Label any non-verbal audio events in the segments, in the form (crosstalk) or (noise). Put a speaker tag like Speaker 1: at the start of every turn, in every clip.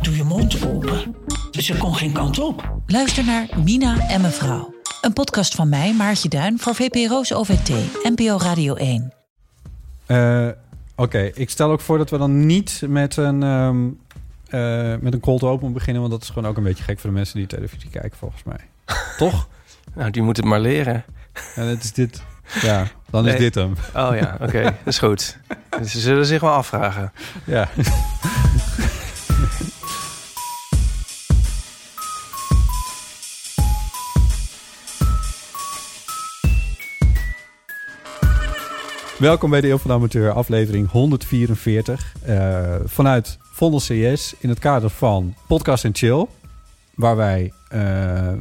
Speaker 1: doe je mond open. Ze kon geen kant op.
Speaker 2: Luister naar Mina en mevrouw. Een podcast van mij, Maartje Duin, voor VPRO's OVT, NPO Radio 1.
Speaker 3: Eh, Oké, ik stel ook voor dat we dan niet met een, ehm eh, met een cold open beginnen. Want dat is gewoon ook een beetje gek voor de mensen die televisie kijken, volgens mij. Toch?
Speaker 4: Nou, die moet het maar leren.
Speaker 3: En het is dit. Ja, dan is
Speaker 4: Nee.
Speaker 3: dit hem.
Speaker 4: Oh ja, (laughs) oké, dat is goed. Ze zullen zich wel afvragen.
Speaker 3: Ja. Welkom bij de Eeuw van de Amateur, aflevering 144. eh, vanuit Vondel CS in het kader van Podcast en Chill. Waar wij eh,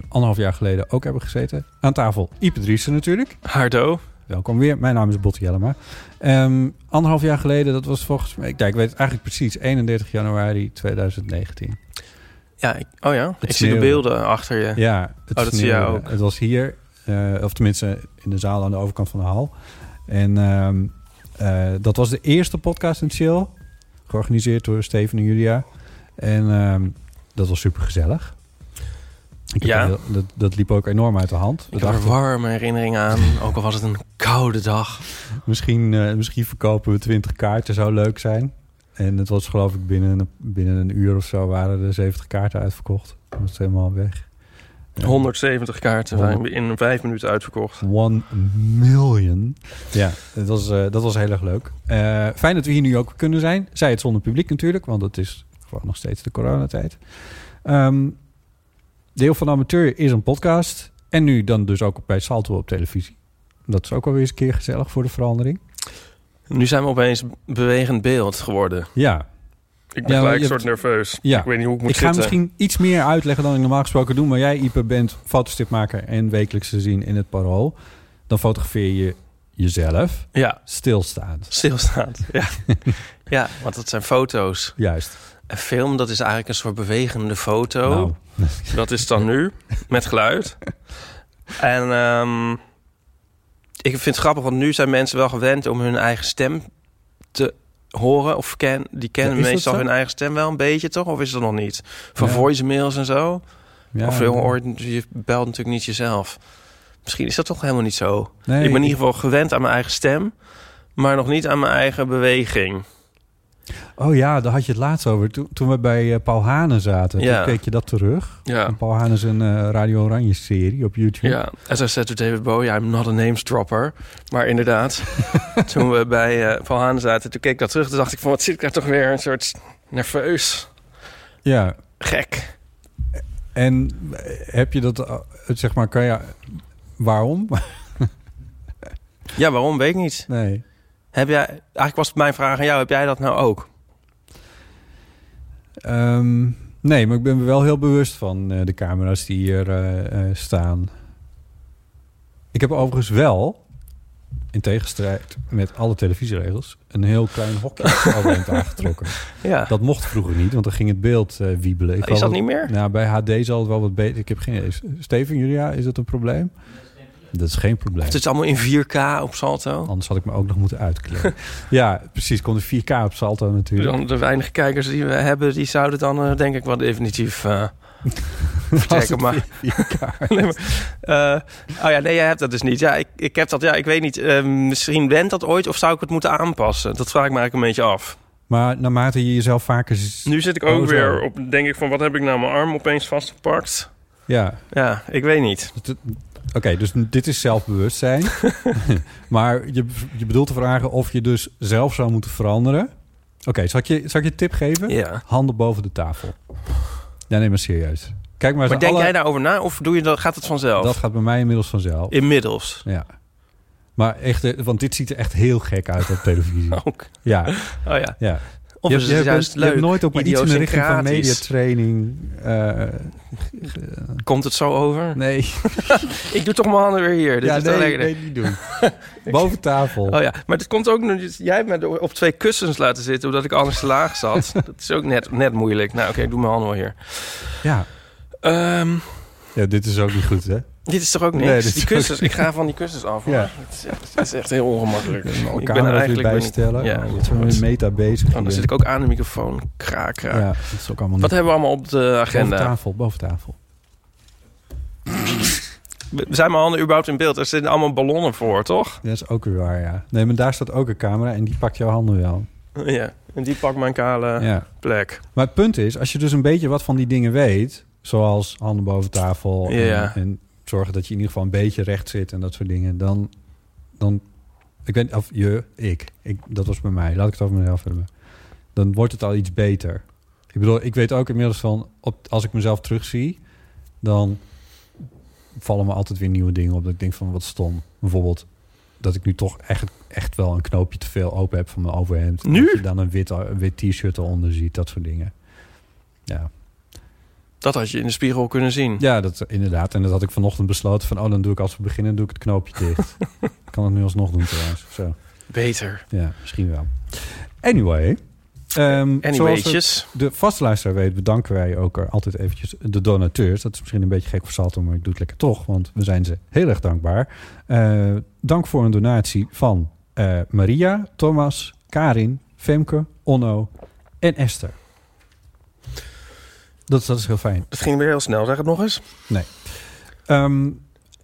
Speaker 3: anderhalf jaar geleden ook hebben gezeten. Aan tafel Ipe Driessen natuurlijk.
Speaker 4: Hardo.
Speaker 3: Welkom weer. Mijn naam is Botte Jellema. Ehm, anderhalf jaar geleden, dat was volgens mij... Kijk, ik weet het eigenlijk precies. 31 januari 2019.
Speaker 4: Ja, ik- oh ja, ik zie de
Speaker 3: sneeuwde.
Speaker 4: beelden achter je.
Speaker 3: Ja, het
Speaker 4: Oh, dat zie jij
Speaker 3: sneeuwde.
Speaker 4: ook.
Speaker 3: Het was hier, eh, of tenminste in de zaal aan de overkant van de hal. En ehm, eh, dat was de eerste podcast in Chill. Georganiseerd door Steven en Julia. En ehm, dat was super gezellig.
Speaker 4: Ja.
Speaker 3: dat, dat liep ook enorm uit de hand. We
Speaker 4: Ik heb er
Speaker 3: dachten,
Speaker 4: warme herinneringen aan, ook al was het een koude dag.
Speaker 3: Misschien, eh, misschien verkopen we 20 kaarten, zou leuk zijn. En het was geloof ik binnen een, binnen een uur of zo waren er 70 kaarten uitverkocht. Dat was helemaal weg. Ja.
Speaker 4: 170 kaarten
Speaker 3: zijn
Speaker 4: in vijf minuten uitverkocht.
Speaker 3: One million. Ja, dat was, eh, dat was heel erg leuk. Eh, fijn dat we hier nu ook kunnen zijn. Zij het zonder publiek natuurlijk, want het is gewoon nog steeds de coronatijd. Ehm Deel van de Amateur is een podcast. En nu dan dus ook bij Salto op televisie. Dat is ook alweer eens een keer gezellig voor de verandering.
Speaker 4: Nu zijn we opeens bewegend beeld geworden.
Speaker 3: Ja,
Speaker 4: Ik
Speaker 3: ben Ja, gelijk je een soort
Speaker 4: nerveus.
Speaker 3: ja. Ik
Speaker 4: weet niet hoe
Speaker 3: Ik ga misschien iets meer uitleggen dan ik normaal gesproken doe. Maar jij, Ipe, bent fotostipmaker en wekelijks te zien in het Parool. Dan fotografeer je jezelf
Speaker 4: Ja,
Speaker 3: stilstaand. (laughs)
Speaker 4: stilstaand. Ja. ja, want dat zijn foto's.
Speaker 3: Juist.
Speaker 4: En film, dat is eigenlijk een soort bewegende foto.
Speaker 3: Nou,
Speaker 4: Dat is dan nu, met geluid. En ehm, ik vind het grappig, want nu zijn mensen wel gewend om hun eigen stem te horen. Of ken, die kennen
Speaker 3: Ja, is dat
Speaker 4: meestal
Speaker 3: zo?
Speaker 4: hun eigen stem wel een beetje, toch? Of is dat nog niet? Van
Speaker 3: Ja.
Speaker 4: voicemails en zo.
Speaker 3: ja,
Speaker 4: of je, hoort, je belt natuurlijk niet jezelf. Misschien is dat toch helemaal niet zo.
Speaker 3: nee,
Speaker 4: ik ben in ieder geval gewend aan mijn eigen stem. Maar nog niet aan mijn eigen beweging.
Speaker 3: Oh ja, daar had je het laatst over. Toen, toen we bij eh, Paul Hanen zaten,
Speaker 4: Ja.
Speaker 3: toen keek je dat terug.
Speaker 4: Ja.
Speaker 3: En Paul Hanen is een eh, Radio Oranje-serie op YouTube.
Speaker 4: Ja, as I said to David Bowie, I'm not a namesdropper. Maar (laughs) inderdaad, toen we bij eh Paul Haan zaten, toen keek ik dat terug. Toen dacht ik van, wat zit ik daar toch weer een soort nerveus,
Speaker 3: Ja,
Speaker 4: gek.
Speaker 3: En heb je dat, eh, zeg maar, kan je... Waarom? (laughs)
Speaker 4: Ja, waarom, weet ik niet.
Speaker 3: nee.
Speaker 4: Heb jij, eigenlijk was het mijn vraag aan jou, heb jij dat nou ook?
Speaker 3: Ehm, nee, maar ik ben me wel heel bewust van eh, de camera's die hier eh, eh, staan. Ik heb overigens wel, in tegenstrijd met alle televisieregels, een heel klein
Speaker 4: (laughs)
Speaker 3: hokje overeind aangetrokken.
Speaker 4: Ja,
Speaker 3: Dat mocht vroeger niet, want dan ging het beeld eh, wiebelen. Ik
Speaker 4: Oh, is
Speaker 3: geloof
Speaker 4: dat niet meer?
Speaker 3: Nou, bij HD zal het wel wat beter. Ik heb geen idee. Steven, Julia, is dat een probleem? Dat is geen probleem.
Speaker 4: Of het is allemaal in 4K op Salto?
Speaker 3: Anders had ik me ook nog moeten uitkleden. ja, precies. Komt er 4K op Salto natuurlijk. (laughs)
Speaker 4: Dan de weinige kijkers die we hebben, die zouden dan eh, denk ik wel definitief... eh,
Speaker 3: Als het
Speaker 4: maar.
Speaker 3: 4K.
Speaker 4: Nee, maar, eh, oh ja, nee, jij hebt dat dus niet. Ja, ik, ik heb dat, ja, ik weet niet. eh, misschien went dat ooit of zou ik het moeten aanpassen? Dat vraag ik me eigenlijk een beetje af.
Speaker 3: Maar naarmate je jezelf vaker... z-
Speaker 4: Nu zit ik
Speaker 3: ook Oh, zo. weer
Speaker 4: op, denk ik, van wat heb ik nou mijn arm opeens vastgepakt?
Speaker 3: Ja,
Speaker 4: Ja, ik weet niet.
Speaker 3: Het- het- Oké, dus dit is
Speaker 4: (laughs)
Speaker 3: zelfbewustzijn. maar je, je bedoelt te vragen of je dus zelf zou moeten veranderen. Oké, zal, ik je- zal ik je een tip geven?
Speaker 4: Ja.
Speaker 3: Handen boven de tafel. Ja, nee, maar serieus. Kijk maar, eens naar
Speaker 4: Maar denk jij nou
Speaker 3: alle-
Speaker 4: daarover na of doe je dat, gaat het vanzelf?
Speaker 3: Dat gaat bij mij inmiddels vanzelf.
Speaker 4: Inmiddels.
Speaker 3: Ja. Maar echt, eh, want dit ziet er echt heel gek uit op televisie.
Speaker 4: Ook.
Speaker 3: Ja,
Speaker 4: Oh ja.
Speaker 3: ja.
Speaker 4: Oh. Of
Speaker 3: je
Speaker 4: is
Speaker 3: hebt-
Speaker 4: het
Speaker 3: je hebt-
Speaker 4: juist
Speaker 3: je hebt
Speaker 4: leuk?
Speaker 3: nooit op maar iets in de richting van
Speaker 4: idiosyncratisch.
Speaker 3: mediatraining. eh,
Speaker 4: Komt het zo over?
Speaker 3: nee.
Speaker 4: Ik doe toch mijn handen weer hier. Dit
Speaker 3: ja,
Speaker 4: is toch
Speaker 3: nee,
Speaker 4: lekker.
Speaker 3: nee, niet doen.
Speaker 4: (laughs)
Speaker 3: Boven tafel.
Speaker 4: Oh ja, maar dat komt ook nu. dus Jij hebt me door- op twee kussens laten zitten omdat ik anders te laag
Speaker 3: (laughs)
Speaker 4: zat. dat is ook net, net moeilijk. Nou, oké, ik doe mijn handen wel hier.
Speaker 3: ja.
Speaker 4: Ehm,
Speaker 3: ja, dit is ook niet goed, hè?
Speaker 4: dit is toch ook niks?
Speaker 3: Nee, dit is
Speaker 4: die
Speaker 3: ook
Speaker 4: kussens, ik ga van die kussens af.
Speaker 3: Ja.
Speaker 4: Ja. Het, is echt, het is echt
Speaker 3: (laughs)
Speaker 4: heel ongemakkelijk.
Speaker 3: Ik ben er eigenlijk bijstellen. Oh,
Speaker 4: Ja,
Speaker 3: Ja, dat is wel met meta bezig.
Speaker 4: Oh, dan
Speaker 3: hier.
Speaker 4: zit ik ook aan de microfoon. Kraak, kraak.
Speaker 3: Ja, dat is ook allemaal
Speaker 4: Wat
Speaker 3: niet.
Speaker 4: hebben we allemaal op de
Speaker 3: Boven
Speaker 4: agenda?
Speaker 3: tafel, boven tafel.
Speaker 4: We- Zijn mijn handen überhaupt in beeld? Er zitten allemaal ballonnen voor, toch? (laughs)
Speaker 3: Dat is ook weer waar, ja. Nee, maar daar staat ook een camera en die pakt jouw handen wel.
Speaker 4: Ja. En die pakt mijn kale
Speaker 3: Ja.
Speaker 4: plek.
Speaker 3: Maar het punt is, als je dus een beetje wat van die dingen weet... zoals handen boven tafel en,
Speaker 4: Ja.
Speaker 3: en zorgen dat je in ieder geval een beetje recht zit... en dat soort dingen, dan... dan ik weet of je, ik, ik. Dat was bij mij. Laat ik het over mezelf hebben. Dan wordt het al iets beter. Ik bedoel, ik weet ook inmiddels van... Op, als ik mezelf terugzie, dan vallen me altijd weer nieuwe dingen op. Dat ik denk van, wat stom. Bijvoorbeeld dat ik nu toch echt, echt wel een knoopje te veel open heb van mijn overhemd.
Speaker 4: Nu?
Speaker 3: Dat je dan een wit, een wit t-shirt eronder ziet, dat soort dingen. Ja.
Speaker 4: Dat had je in de spiegel kunnen zien.
Speaker 3: ja, dat inderdaad. En dat had ik vanochtend besloten van... oh, dan doe ik als we beginnen, doe ik het knoopje dicht. Ik kan het nu alsnog doen trouwens. Zo.
Speaker 4: Beter.
Speaker 3: Ja, misschien wel. Anyway. ehm, zoals we-
Speaker 4: Anyway'tjes.
Speaker 3: de vaste luisteraar weet, bedanken wij ook eh, altijd eventjes de donateurs. Dat is misschien een beetje gek voor Salto, maar ik doe het lekker toch, want we zijn ze heel erg dankbaar. Eh, dank voor een donatie van eh, Maria, Thomas, Karin, Femke, Onno en Esther. Dat, dat is heel fijn.
Speaker 4: Het ging weer heel snel. Zeg het nog eens.
Speaker 3: Ehm,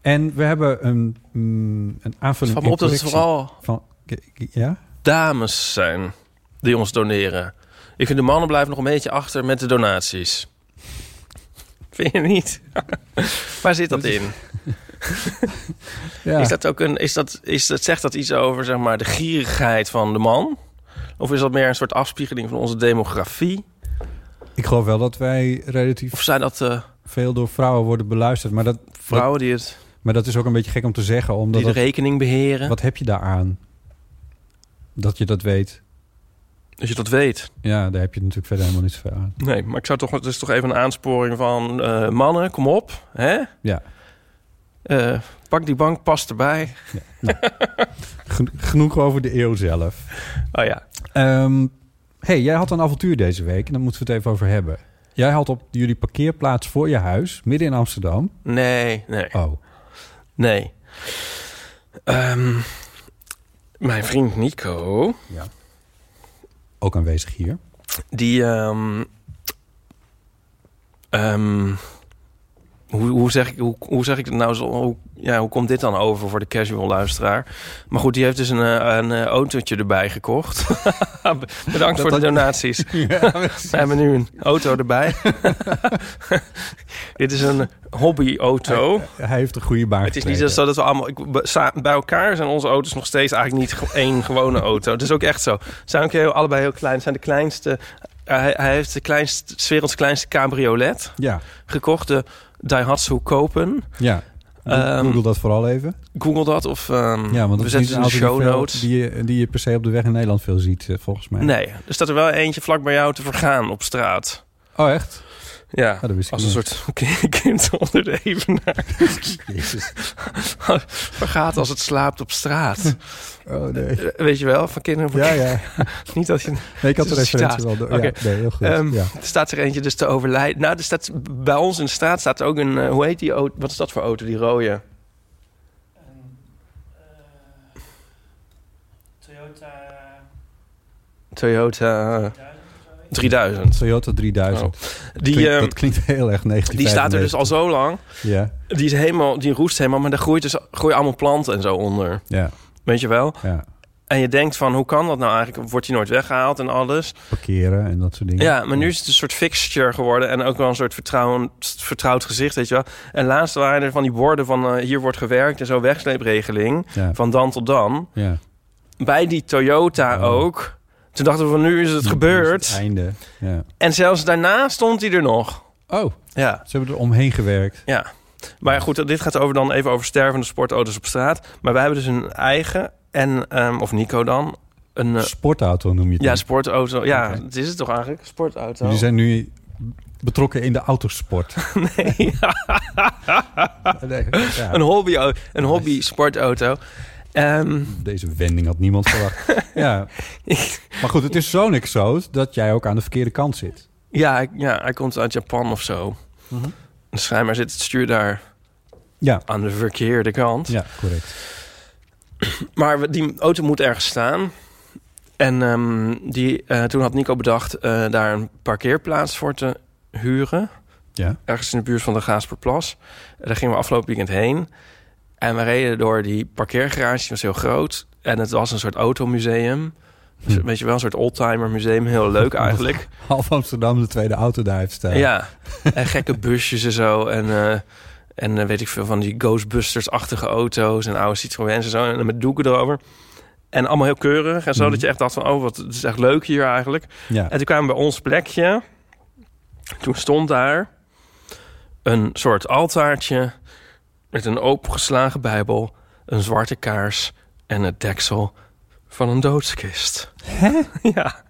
Speaker 3: en we hebben een, mm, een
Speaker 4: Het
Speaker 3: aanvulling.
Speaker 4: valt me
Speaker 3: en
Speaker 4: op dat het
Speaker 3: correctie
Speaker 4: vooral
Speaker 3: van. Ja?
Speaker 4: dames zijn die ons doneren. Ik vind de mannen blijven nog een beetje achter met de donaties. Vind je niet? (laughs) Waar zit dat in?
Speaker 3: Ja.
Speaker 4: Is dat ook een, is dat, is dat, zegt dat iets over zeg maar, de gierigheid van de man? Of is dat meer een soort afspiegeling van onze demografie?
Speaker 3: Ik geloof wel dat wij relatief
Speaker 4: Of zijn dat eh,
Speaker 3: veel door vrouwen worden beluisterd, maar dat,
Speaker 4: vrouwen die, het,
Speaker 3: maar dat is ook een beetje gek om te zeggen, omdat
Speaker 4: die de
Speaker 3: dat-
Speaker 4: rekening beheren?
Speaker 3: Wat heb je daaraan? Dat je dat weet.
Speaker 4: Als je dat weet.
Speaker 3: Ja, daar heb je natuurlijk verder helemaal niets veel aan.
Speaker 4: Nee, maar ik zou toch, het is toch even een aansporing van eh, mannen, kom op. Hè?
Speaker 3: Ja.
Speaker 4: Eh, pak die bank, pas erbij.
Speaker 3: Gen- Genoeg over de eeuw zelf.
Speaker 4: Oh ja.
Speaker 3: Ehm, hey, jij had een avontuur deze week en daar moeten we het even over hebben. Jij had op jullie parkeerplaats voor je huis, midden in Amsterdam.
Speaker 4: Nee, nee.
Speaker 3: Oh,
Speaker 4: Nee. Ehm, mijn vriend Nico,
Speaker 3: ook aanwezig hier.
Speaker 4: die. ehm, ehm, hoe, hoe, zeg ik, hoe, hoe zeg ik het nou? Zo, hoe, ja, hoe komt dit dan over voor de casual luisteraar? Maar goed, die heeft dus een, eh, een eh, autootje erbij gekocht. (laughs) Bedankt voor de (laughs) donaties. We hebben nu een auto (laughs) erbij. dit is een hobbyauto.
Speaker 3: (laughs) Hij heeft een goede baan
Speaker 4: Het is niet zo dat we allemaal... Ik, be- sa- bij elkaar zijn onze auto's nog steeds eigenlijk niet ge- één gewone auto. Het is ook echt zo. Zijn ook heel, allebei heel klein. Zijn de kleinste... eh, hij, hij heeft de kleinste, 's werelds kleinste cabriolet
Speaker 3: Ja,
Speaker 4: gekocht. De Daihatsu Kopen.
Speaker 3: ja.
Speaker 4: Ehm,
Speaker 3: Google dat vooral even.
Speaker 4: Google dat of ehm,
Speaker 3: Ja, want dat
Speaker 4: we
Speaker 3: is
Speaker 4: zetten
Speaker 3: niet
Speaker 4: het
Speaker 3: een
Speaker 4: in
Speaker 3: auto die
Speaker 4: de show
Speaker 3: veel-
Speaker 4: notes.
Speaker 3: Die, je, die je per se op de weg in Nederland veel ziet, eh, volgens mij.
Speaker 4: Nee, er staat er wel eentje vlak bij jou te vergaan op straat.
Speaker 3: Oh,
Speaker 4: (laughs)
Speaker 3: echt?
Speaker 4: Ja,
Speaker 3: Oh, dat wist ik
Speaker 4: als een
Speaker 3: niet.
Speaker 4: soort (laughs) kind onder de evenaar.
Speaker 3: Jezus.
Speaker 4: (laughs) Vergaat als het slaapt op
Speaker 3: (laughs)
Speaker 4: straat.
Speaker 3: Oh, nee.
Speaker 4: Eh, Weet je wel, van kinderen voor
Speaker 3: Ja, ja.
Speaker 4: Niet dat je...
Speaker 3: Nee, ik
Speaker 4: (laughs)
Speaker 3: had de
Speaker 4: Het is een
Speaker 3: referentie wel. door. Ja,
Speaker 4: Oké.
Speaker 3: nee, heel goed.
Speaker 4: Ehm,
Speaker 3: ja.
Speaker 4: Er staat er eentje dus te overlijden. Nou, er staat, bij ons in de straat staat ook een... eh, hoe heet die auto? Wat is dat voor auto, die rode? Toyota... eh, Toyota... 3000.
Speaker 3: Toyota 3000.
Speaker 4: Oh. Die,
Speaker 3: Klinkt-
Speaker 4: ehm,
Speaker 3: dat klinkt heel erg negatief.
Speaker 4: die staat er dus al zo lang.
Speaker 3: Ja,
Speaker 4: Die, is helemaal, die roest helemaal, maar daar groeit dus, groeien allemaal planten en zo onder.
Speaker 3: ja,
Speaker 4: Weet je wel?
Speaker 3: ja.
Speaker 4: En je denkt van, hoe kan dat nou eigenlijk? Wordt die nooit weggehaald en alles?
Speaker 3: Parkeren en dat soort dingen.
Speaker 4: Ja, maar nu is het een soort fixture geworden en ook wel een soort vertrouwen, vertrouwd gezicht, weet je wel. En laatst waren er van die borden van eh, hier wordt gewerkt en zo wegsleepregeling
Speaker 3: Ja.
Speaker 4: van dan tot dan.
Speaker 3: ja.
Speaker 4: Bij die Toyota
Speaker 3: Oh.
Speaker 4: ook. Toen dachten we van nu is
Speaker 3: Dat
Speaker 4: het
Speaker 3: is het
Speaker 4: gebeurd.
Speaker 3: einde. Ja.
Speaker 4: En zelfs daarna stond hij er nog.
Speaker 3: Oh,
Speaker 4: Ja,
Speaker 3: ze hebben er omheen gewerkt.
Speaker 4: ja. Maar goed, dit gaat over dan even over stervende sportauto's op straat. Maar wij hebben dus een eigen en, ehm, of Nico dan, eh, een eh,
Speaker 3: Sportauto noem je het.
Speaker 4: ja,
Speaker 3: nu.
Speaker 4: sportauto. Ja,
Speaker 3: Oké.
Speaker 4: het is het toch eigenlijk? Sportauto.
Speaker 3: Jullie zijn nu betrokken in de autosport. (laughs)
Speaker 4: (laughs) Nee,
Speaker 3: Nee, ja,
Speaker 4: een hobby, een hobby sportauto. Ehm,
Speaker 3: Deze wending had niemand verwacht.
Speaker 4: (laughs)
Speaker 3: ja. Maar goed, het is zo'n exoot dat jij ook aan de verkeerde kant zit.
Speaker 4: ja, ik- ja, hij komt uit Japan of zo. Dus schijnbaar zit het stuur daar
Speaker 3: Ja,
Speaker 4: aan de verkeerde kant.
Speaker 3: ja correct.
Speaker 4: Maar we- die auto moet ergens staan. En ehm, die, eh, toen had Nico bedacht eh, daar een parkeerplaats voor te huren.
Speaker 3: Ja.
Speaker 4: Ergens in de buurt van de Gaasperplas. En daar gingen we afgelopen weekend heen. En we reden door die parkeergarage, die was heel groot. En het was een soort automuseum. Dus,
Speaker 3: Hm.
Speaker 4: Weet je wel, een soort oldtimer museum. Heel leuk eigenlijk.
Speaker 3: (laughs) Half Amsterdam de tweede auto daar heeft staan.
Speaker 4: Ja, en gekke busjes en zo. En, eh, en eh, weet ik veel van die Ghostbusters-achtige auto's en oude Citroëns en zo. En met doeken erover. En allemaal heel keurig en zo.
Speaker 3: Mhm.
Speaker 4: Dat je echt dacht van, oh, wat het is echt leuk hier eigenlijk.
Speaker 3: Ja.
Speaker 4: En toen kwamen we bij ons plekje. Toen stond daar een soort altaartje met een opengeslagen bijbel, een zwarte kaars en het deksel van een doodskist. Hè? (laughs) Ja.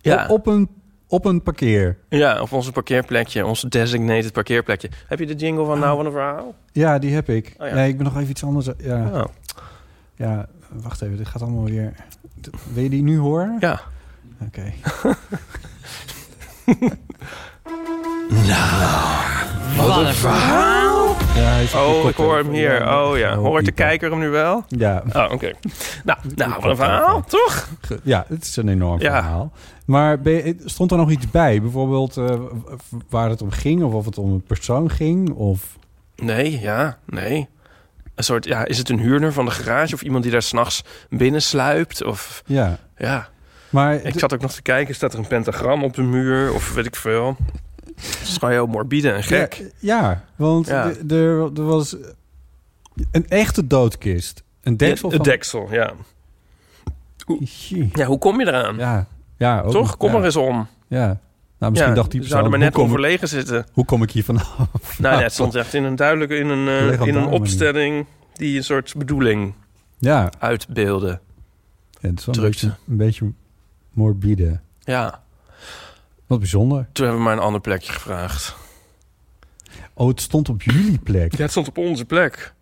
Speaker 4: ja.
Speaker 3: Op, op een, op een parkeer.
Speaker 4: Ja, op onze parkeerplekje, ons designated parkeerplekje. Heb je de jingle van Nou van een Verhaal?
Speaker 3: Ja, die heb ik.
Speaker 4: Oh ja.
Speaker 3: Nee, ik ben nog even iets anders. Ja,
Speaker 4: Oh,
Speaker 3: ja, wacht even. Dit gaat allemaal weer... D- Wil je die nu horen?
Speaker 4: ja.
Speaker 3: Oké.
Speaker 5: Wat een verhaal.
Speaker 3: Ja, hij is op de
Speaker 4: oh ik
Speaker 3: koptelefoon.
Speaker 4: hoor hem hier. Oh ja, hoort de
Speaker 3: pieper.
Speaker 4: kijker hem nu wel?
Speaker 3: Ja,
Speaker 4: Oh, oké.
Speaker 3: (laughs)
Speaker 4: Nou, nou, wat een verhaal, toch?
Speaker 3: ge- ja, het is een enorm
Speaker 4: Ja.
Speaker 3: verhaal. Maar ben je- stond er nog iets bij? Bijvoorbeeld eh, w- w- waar het om ging? Of of het om een persoon ging? Of...
Speaker 4: Nee, ja, nee. Een soort, ja, is het een huurder van de garage of iemand die daar s'nachts binnensluipt? Of,
Speaker 3: Ja,
Speaker 4: ja.
Speaker 3: maar...
Speaker 4: Ik
Speaker 3: d-
Speaker 4: zat ook nog te kijken, staat er een pentagram op de muur? Of weet ik veel. Het is gewoon heel morbide en gek.
Speaker 3: Ja, ja, want
Speaker 4: Ja.
Speaker 3: d- er er was een echte doodkist. Een deksel
Speaker 4: Ja,
Speaker 3: van...
Speaker 4: het deksel, ja.
Speaker 3: Jee.
Speaker 4: Ja, hoe kom je eraan?
Speaker 3: Ja, ja ook
Speaker 4: toch?
Speaker 3: nog,
Speaker 4: Kom
Speaker 3: ja.
Speaker 4: er eens om.
Speaker 3: Ja. Nou, misschien
Speaker 4: ja,
Speaker 3: dacht die
Speaker 4: we
Speaker 3: persoon, hoe,
Speaker 4: zouden maar net
Speaker 3: kom ik,
Speaker 4: onverlegen zitten.
Speaker 3: hoe kom ik hier vanaf?
Speaker 4: (laughs) Nou, ja, het stond echt in een duidelijke, in een, eh,
Speaker 3: Legendare
Speaker 4: in een
Speaker 3: manier.
Speaker 4: opstelling die een soort bedoeling
Speaker 3: Ja,
Speaker 4: uitbeelde.
Speaker 3: ja, het is wel een
Speaker 4: Drukte.
Speaker 3: beetje, een beetje morbide.
Speaker 4: Ja,
Speaker 3: Wat bijzonder.
Speaker 4: toen hebben we maar een ander plekje gevraagd.
Speaker 3: Oh, het stond op jullie plek.
Speaker 4: Ja, het stond op onze plek.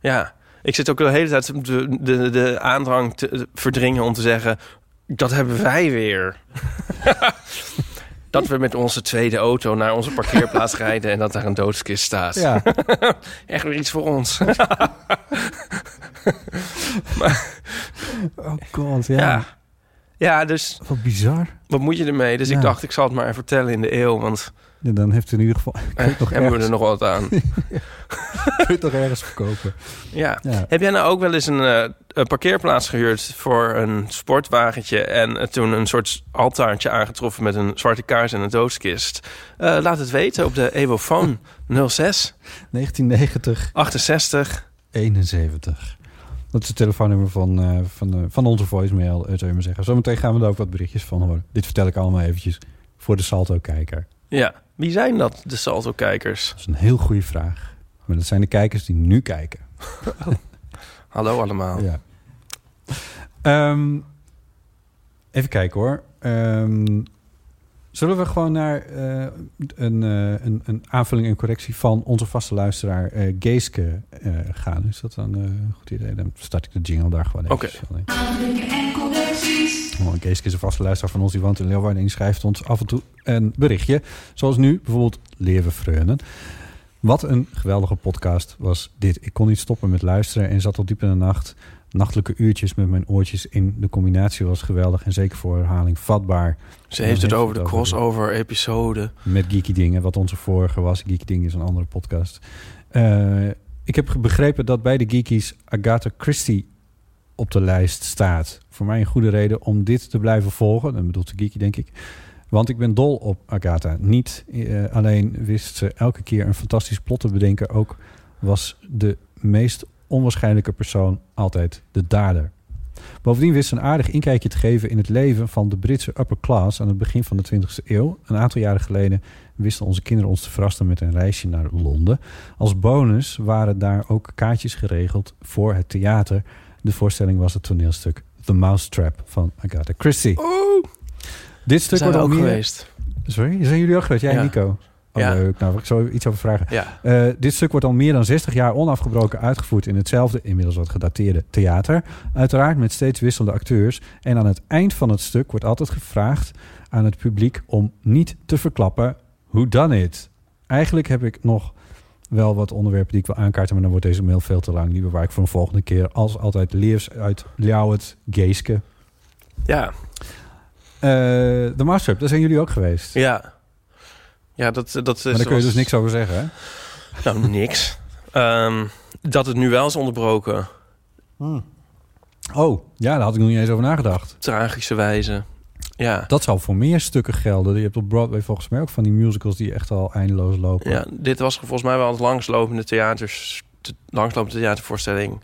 Speaker 4: Ja, ik zit ook de hele tijd de, de, de aandrang te te verdringen om te zeggen... dat hebben wij
Speaker 3: (laughs)
Speaker 4: weer. dat we met onze tweede auto naar onze
Speaker 3: (laughs)
Speaker 4: parkeerplaats rijden... en dat daar een doodskist staat.
Speaker 3: Ja,
Speaker 4: (laughs) Echt weer iets voor ons.
Speaker 3: (laughs) oh god, ja.
Speaker 4: Ja. ja, dus
Speaker 3: Wat bizar.
Speaker 4: wat moet je ermee? Dus
Speaker 3: Ja.
Speaker 4: ik dacht, ik zal het maar even vertellen in de eeuw... want
Speaker 3: Ja, dan heeft u in ieder geval... (laughs) Kun je het
Speaker 4: En
Speaker 3: nog
Speaker 4: hebben we er
Speaker 3: ergens,
Speaker 4: nog wat
Speaker 3: (laughs)
Speaker 4: aan.
Speaker 3: kun je het nog ergens verkopen.
Speaker 4: ja. (laughs)
Speaker 3: Ja.
Speaker 4: Heb jij nou ook wel eens een, eh, een parkeerplaats gehuurd voor een sportwagentje... en eh, toen een soort altaartje aangetroffen met een zwarte kaars en een doodskist? Eh, laat het weten op de Evofoon 06
Speaker 3: 1990,
Speaker 4: 68.
Speaker 3: 71. Dat is het telefoonnummer van, eh, van, eh, van onze voicemail, eh, zou je maar zeggen. Zometeen gaan we daar ook wat berichtjes van horen. Dit vertel ik allemaal eventjes voor de Salto-kijker.
Speaker 4: Ja, wie zijn dat, de Salto-kijkers?
Speaker 3: Dat is een heel goede vraag. Maar dat zijn de kijkers die nu kijken.
Speaker 4: Hallo allemaal.
Speaker 3: Ja. Ehm, even kijken hoor. Ehm, zullen we gewoon naar eh, een, eh, een, een aanvulling en correctie van onze vaste luisteraar eh, Geeske eh, gaan? Is dat dan eh, een goed idee? Dan start ik de jingle daar gewoon even.
Speaker 4: Oké.
Speaker 3: Oh, Geeske is een vaste luisteraar van ons. Die woont in Leeuwarden en die schrijft ons af en toe een berichtje. Zoals nu bijvoorbeeld Leeuwen Freunen. Wat een geweldige podcast was dit. Ik kon niet stoppen met luisteren en zat tot diep in de nacht. Nachtelijke uurtjes met mijn oortjes in. De combinatie was geweldig en zeker voor herhaling vatbaar.
Speaker 4: Ze heeft het
Speaker 3: Dan
Speaker 4: over de
Speaker 3: heeft het over
Speaker 4: crossover-episode.
Speaker 3: Met Geeky Dingen, wat onze vorige was. Geeky Dingen is een andere podcast. Eh, ik heb begrepen dat bij de Geekies Agatha Christie op de lijst staat. Voor mij een goede reden om dit te blijven volgen. Dan bedoelt de Geeky, denk ik. Want ik ben dol op Agatha. Niet eh, alleen wist ze elke keer een fantastisch plot te bedenken. Ook was de meest onwaarschijnlijke persoon altijd de dader. Bovendien wist ze een aardig inkijkje te geven in het leven van de Britse upper class aan het begin van de 20e eeuw. Een aantal jaren geleden wisten onze kinderen ons te verrassen met een reisje naar Londen. Als bonus waren daar ook kaartjes geregeld voor het theater De voorstelling was het toneelstuk The Mousetrap van Agatha Christie. Dit stuk
Speaker 4: zijn
Speaker 3: wordt
Speaker 4: we
Speaker 3: al
Speaker 4: ook
Speaker 3: meer...
Speaker 4: geweest.
Speaker 3: Sorry, zijn jullie ook geweest? Jij
Speaker 4: Ja.
Speaker 3: en Nico? Oh,
Speaker 4: Ja.
Speaker 3: leuk. Nou, ik zou er iets over vragen.
Speaker 4: Ja.
Speaker 3: Eh, dit stuk wordt al meer dan 60 jaar onafgebroken uitgevoerd in hetzelfde, inmiddels wat gedateerde theater. Uiteraard met steeds wisselende acteurs. En aan het eind van het stuk wordt altijd gevraagd aan het publiek om niet te verklappen hoe dan it. Eigenlijk heb ik nog wel wat onderwerpen die ik wil aankaarten, maar dan wordt deze mail veel te lang. Die bewaar ik voor een volgende keer. Als altijd leers uit Ljouwert Geeske.
Speaker 4: Ja.
Speaker 3: Eh, de Master, daar zijn jullie ook geweest.
Speaker 4: Ja. Ja, dat, eh, dat is...
Speaker 3: maar daar kun je
Speaker 4: was-
Speaker 3: dus niks over zeggen, hè?
Speaker 4: Nou, niks. Ehm, dat het nu wel is onderbroken.
Speaker 3: Oh, ja, daar had ik nog niet eens over nagedacht.
Speaker 4: Tragische wijze. Ja.
Speaker 3: Dat zou voor meer stukken gelden. Je hebt op Broadway volgens mij ook van die musicals die echt al eindeloos lopen.
Speaker 4: ja. Dit was volgens mij wel het langslopende theaters... de langslopende theatervoorstelling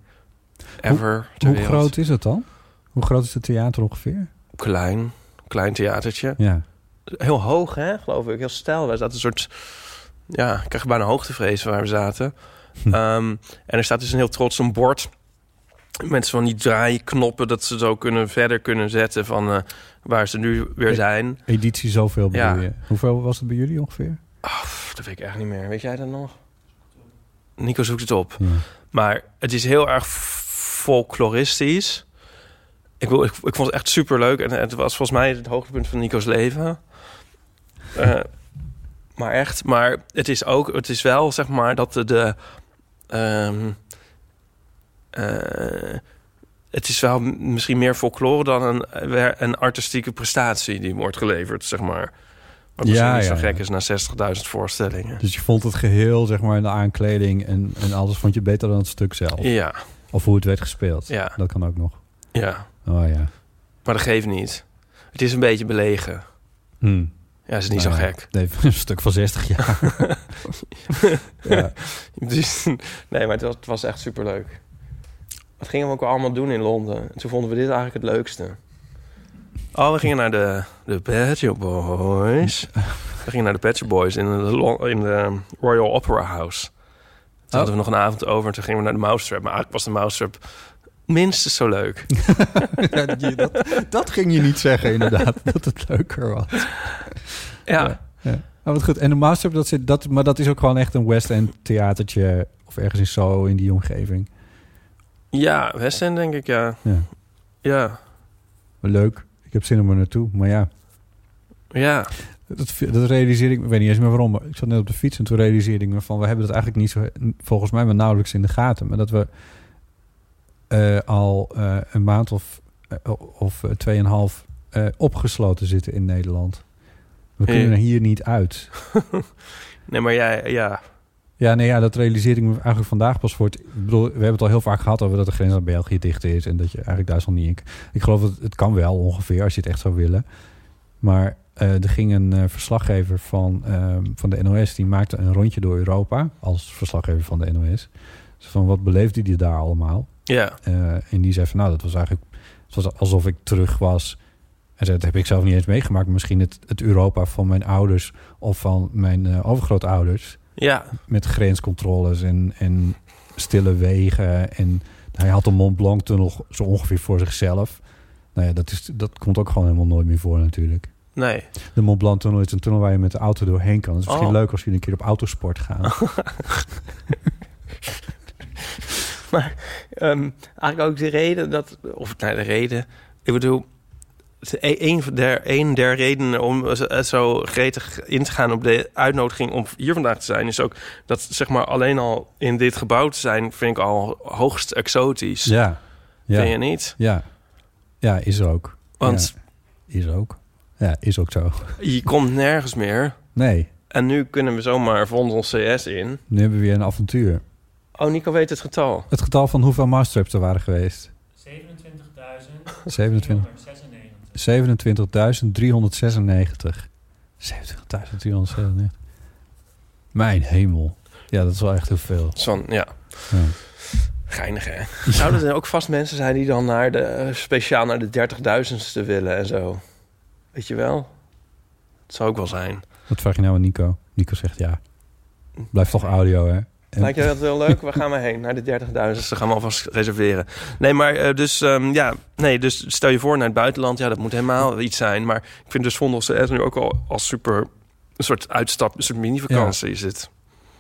Speaker 4: ever ter
Speaker 3: Hoe
Speaker 4: wereld.
Speaker 3: groot is het dan? Hoe groot is het theater ongeveer?
Speaker 4: Klein. Klein theatertje.
Speaker 3: Ja.
Speaker 4: Heel hoog, hè, geloof ik. Heel stijl. We zaten een soort... Ja, ik kreeg bijna hoogtevrees waar we zaten. Ehm, en er staat dus een heel trots een bord... met van die draaiknoppen... dat ze zo kunnen, verder kunnen zetten van... eh, waar ze nu weer
Speaker 3: Ik-
Speaker 4: zijn.
Speaker 3: (laughs) Editie zoveel bedoel
Speaker 4: Ja.
Speaker 3: je. Hoeveel was het bij jullie ongeveer?
Speaker 4: Ah, pff, dat weet ik echt niet meer. Weet jij dat nog? Nico zoekt het op.
Speaker 3: Ja.
Speaker 4: Maar het is heel erg folkloristisch. Ik, wil, ik, ik vond het echt super leuk. En het was volgens mij het hoogtepunt van Nico's leven. Eh, maar echt, maar het is ook, het is wel zeg maar dat de. de ehm, eh, het is wel m- misschien meer folklore dan een, eh, wer- een artistieke prestatie die wordt geleverd, zeg maar. Wat misschien
Speaker 3: Ja,
Speaker 4: niet
Speaker 3: ja,
Speaker 4: zo
Speaker 3: ja.
Speaker 4: gek is na 60.000 voorstellingen.
Speaker 3: Dus je vond het geheel, zeg maar, in de aankleding en, en alles vond je beter dan het stuk zelf.
Speaker 4: Ja,
Speaker 3: Of hoe het werd gespeeld.
Speaker 4: Ja.
Speaker 3: Dat kan ook nog.
Speaker 4: ja.
Speaker 3: Oh ja.
Speaker 4: Maar dat geeft niet. Het is een beetje belegen.
Speaker 3: Hm.
Speaker 4: Ja, is niet
Speaker 3: Nou
Speaker 4: zo
Speaker 3: ja.
Speaker 4: gek. (laughs)
Speaker 3: Nee, (laughs) een stuk van 60 jaar. ja.
Speaker 4: Dus, nee, maar het was, het was echt superleuk. Wat gingen we ook allemaal doen in Londen? En toen vonden we dit eigenlijk het leukste. Oh, we gingen naar de, de Pet Shop Boys. We gingen naar de Pet Shop Boys in de, Lo- in de Royal Opera House. Toen hadden we nog een avond over en toen gingen we naar de Mousetrap. Maar eigenlijk was de Mousetrap minstens zo
Speaker 3: (laughs)
Speaker 4: leuk.
Speaker 3: Ja, die- dat, dat ging je niet zeggen,
Speaker 4: (laughs)
Speaker 3: inderdaad. Dat het leuker was.
Speaker 4: Ja,
Speaker 3: Ja. Oh, wat goed. En de Master, dat zit, dat, maar dat is ook gewoon echt een West End theatertje. Of ergens in zo in die omgeving.
Speaker 4: ja West End denk ik, ja.
Speaker 3: Ja.
Speaker 4: Ja,
Speaker 3: Leuk. Ik heb zin om er naartoe. Maar ja,
Speaker 4: ja.
Speaker 3: dat, dat realiseer ik me. Ik weet niet eens meer waarom. Maar ik zat net op de fiets en toen realiseerde ik me van... we hebben dat eigenlijk niet zo... volgens mij maar nauwelijks in de gaten. Maar dat we eh, al eh, een maand of, eh, of eh, tweeënhalf eh, opgesloten zitten in Nederland. We
Speaker 4: Ja.
Speaker 3: kunnen er hier niet uit.
Speaker 4: Nee, maar jij, ja.
Speaker 3: Ja, nee, ja, dat realiseer ik me eigenlijk vandaag pas voor het... Ik bedoel, we hebben het al heel vaak gehad over dat de grens aan België dicht is... en dat je eigenlijk Duitsland niet... in- Ik geloof dat het kan wel ongeveer, als je het echt zou willen. Maar eh, er ging een eh, verslaggever van, ehm, van de NOS... die maakte een rondje door Europa als verslaggever van de NOS. Dus van wat beleefde die daar allemaal?
Speaker 4: Ja,
Speaker 3: Eh, en die zei van, nou, dat was eigenlijk... Het was alsof ik terug was. En zei, dat heb ik zelf niet eens meegemaakt. maar Misschien het, het Europa van mijn ouders of van mijn eh, overgrootouders
Speaker 4: ja.
Speaker 3: met grenscontroles en, en stille wegen. En hij had de Mont Blanc-tunnel zo ongeveer voor zichzelf. Nou ja, dat, is, dat komt ook gewoon helemaal nooit meer voor natuurlijk.
Speaker 4: Nee.
Speaker 3: De Mont Blanc-tunnel is een tunnel waar je met de auto doorheen kan. Het is misschien
Speaker 4: Oh.
Speaker 3: leuk als jullie een keer op autosport
Speaker 4: (laughs)
Speaker 3: gaan.
Speaker 4: Ehm, eigenlijk ook de reden dat... Of nou, de reden... Ik bedoel... het e- Een der, een der redenen om zo- zo gretig in te gaan op de uitnodiging om hier vandaag te zijn... is ook dat zeg maar alleen al in dit gebouw te zijn... vind ik al hoogst exotisch.
Speaker 3: ja. Ja.
Speaker 4: Vind je niet?
Speaker 3: ja. Ja, is ook.
Speaker 4: Want
Speaker 3: Ja, is ook. Ja, is ook zo.
Speaker 4: je komt nergens meer.
Speaker 3: Nee,
Speaker 4: En nu kunnen we zomaar vond ons CS in.
Speaker 3: nu hebben we weer een avontuur.
Speaker 4: Oh, Nico weet het getal.
Speaker 3: Het getal van hoeveel mousetraps er waren
Speaker 4: (laughs)
Speaker 3: geweest?
Speaker 6: 27.396.
Speaker 3: 27. 27.396. 27.396. Mijn hemel. Ja, dat is wel echt heel veel.
Speaker 4: Dus van, ja.
Speaker 3: Ja.
Speaker 4: Geinig, hè? Zouden er ook vast mensen zijn die dan naar de, eh, speciaal naar de 30.000ste willen en zo? Weet je wel? Het zou ook wel zijn.
Speaker 3: Wat vraag je nou aan Nico? Nico zegt ja. Blijft toch audio, hè? En-
Speaker 4: Lijkt je dat heel leuk? Waar gaan we heen? Naar de 30.000. Ze gaan we alvast reserveren. Nee, maar eh, dus, ehm, ja, nee, dus stel je voor naar het buitenland. Ja, dat moet helemaal iets zijn. Maar ik vind dus Vondelse S nu ook al als super... Een soort uitstap, een soort mini-vakantie is het.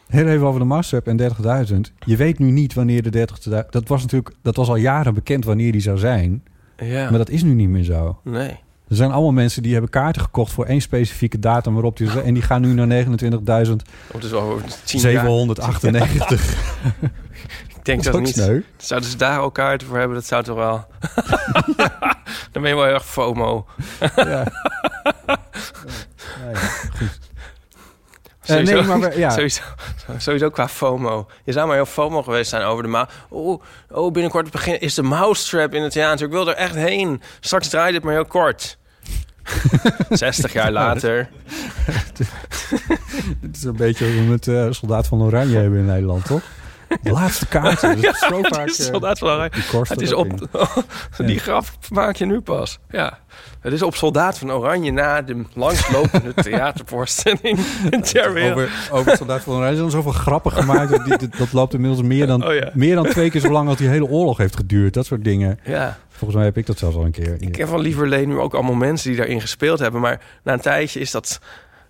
Speaker 3: Heel even over de Mastercap en 30.000. Je weet nu niet wanneer de 30.000... Dat was natuurlijk dat was al jaren bekend wanneer die zou zijn.
Speaker 4: Ja,
Speaker 3: Maar dat is nu niet meer zo.
Speaker 4: nee.
Speaker 3: Er zijn allemaal mensen die hebben kaarten gekocht... voor één specifieke datum waarop die... En die gaan nu
Speaker 4: (laughs)
Speaker 3: naar 29.798.
Speaker 4: Oh, het is al over tien jaar. Ik denk
Speaker 3: Dat is
Speaker 4: dat,
Speaker 3: ook
Speaker 4: niet.
Speaker 3: sneu.
Speaker 4: Zouden ze daar al kaarten voor hebben? Dat zou toch wel... (laughs) Dan ben je wel heel erg FOMO.
Speaker 3: Ja. (laughs) Eh,
Speaker 4: Sowieso,
Speaker 3: nee, maar we- ja.
Speaker 4: sowieso, sowieso qua FOMO. Je zou maar heel FOMO geweest zijn over de ma... Oh, oh, binnenkort begin is de Mousetrap in het theater. Ik wil er echt heen. Straks draait het maar heel kort. (laughs) 60 jaar later.
Speaker 3: Het is een beetje hoe we het eh, Soldaat van Oranje hebben in Nederland, toch? De laatste kaart.
Speaker 4: (laughs)
Speaker 3: Dat is zo vaak...
Speaker 4: Het is,
Speaker 3: eh,
Speaker 4: soldaat van Oranje.
Speaker 3: die korst
Speaker 4: het
Speaker 3: er
Speaker 4: is
Speaker 3: ook
Speaker 4: op... (laughs)
Speaker 3: in.
Speaker 4: Die graf maak je nu pas. Ja. Het is op Soldaat van Oranje na de
Speaker 3: (laughs)
Speaker 4: langslopende theatervoorstelling in ter wereld.
Speaker 3: Over, over het Soldaat van Oranje zijn zoveel grappen gemaakt. Dat, die- dat loopt inmiddels meer dan,
Speaker 4: Oh ja.
Speaker 3: meer dan twee keer zo lang als die hele oorlog heeft geduurd. Dat soort dingen.
Speaker 4: Ja.
Speaker 3: Volgens mij heb ik dat zelfs al een keer.
Speaker 4: Ik ken van Lieverlee nu ook allemaal mensen die daarin gespeeld hebben. Maar na een tijdje is dat...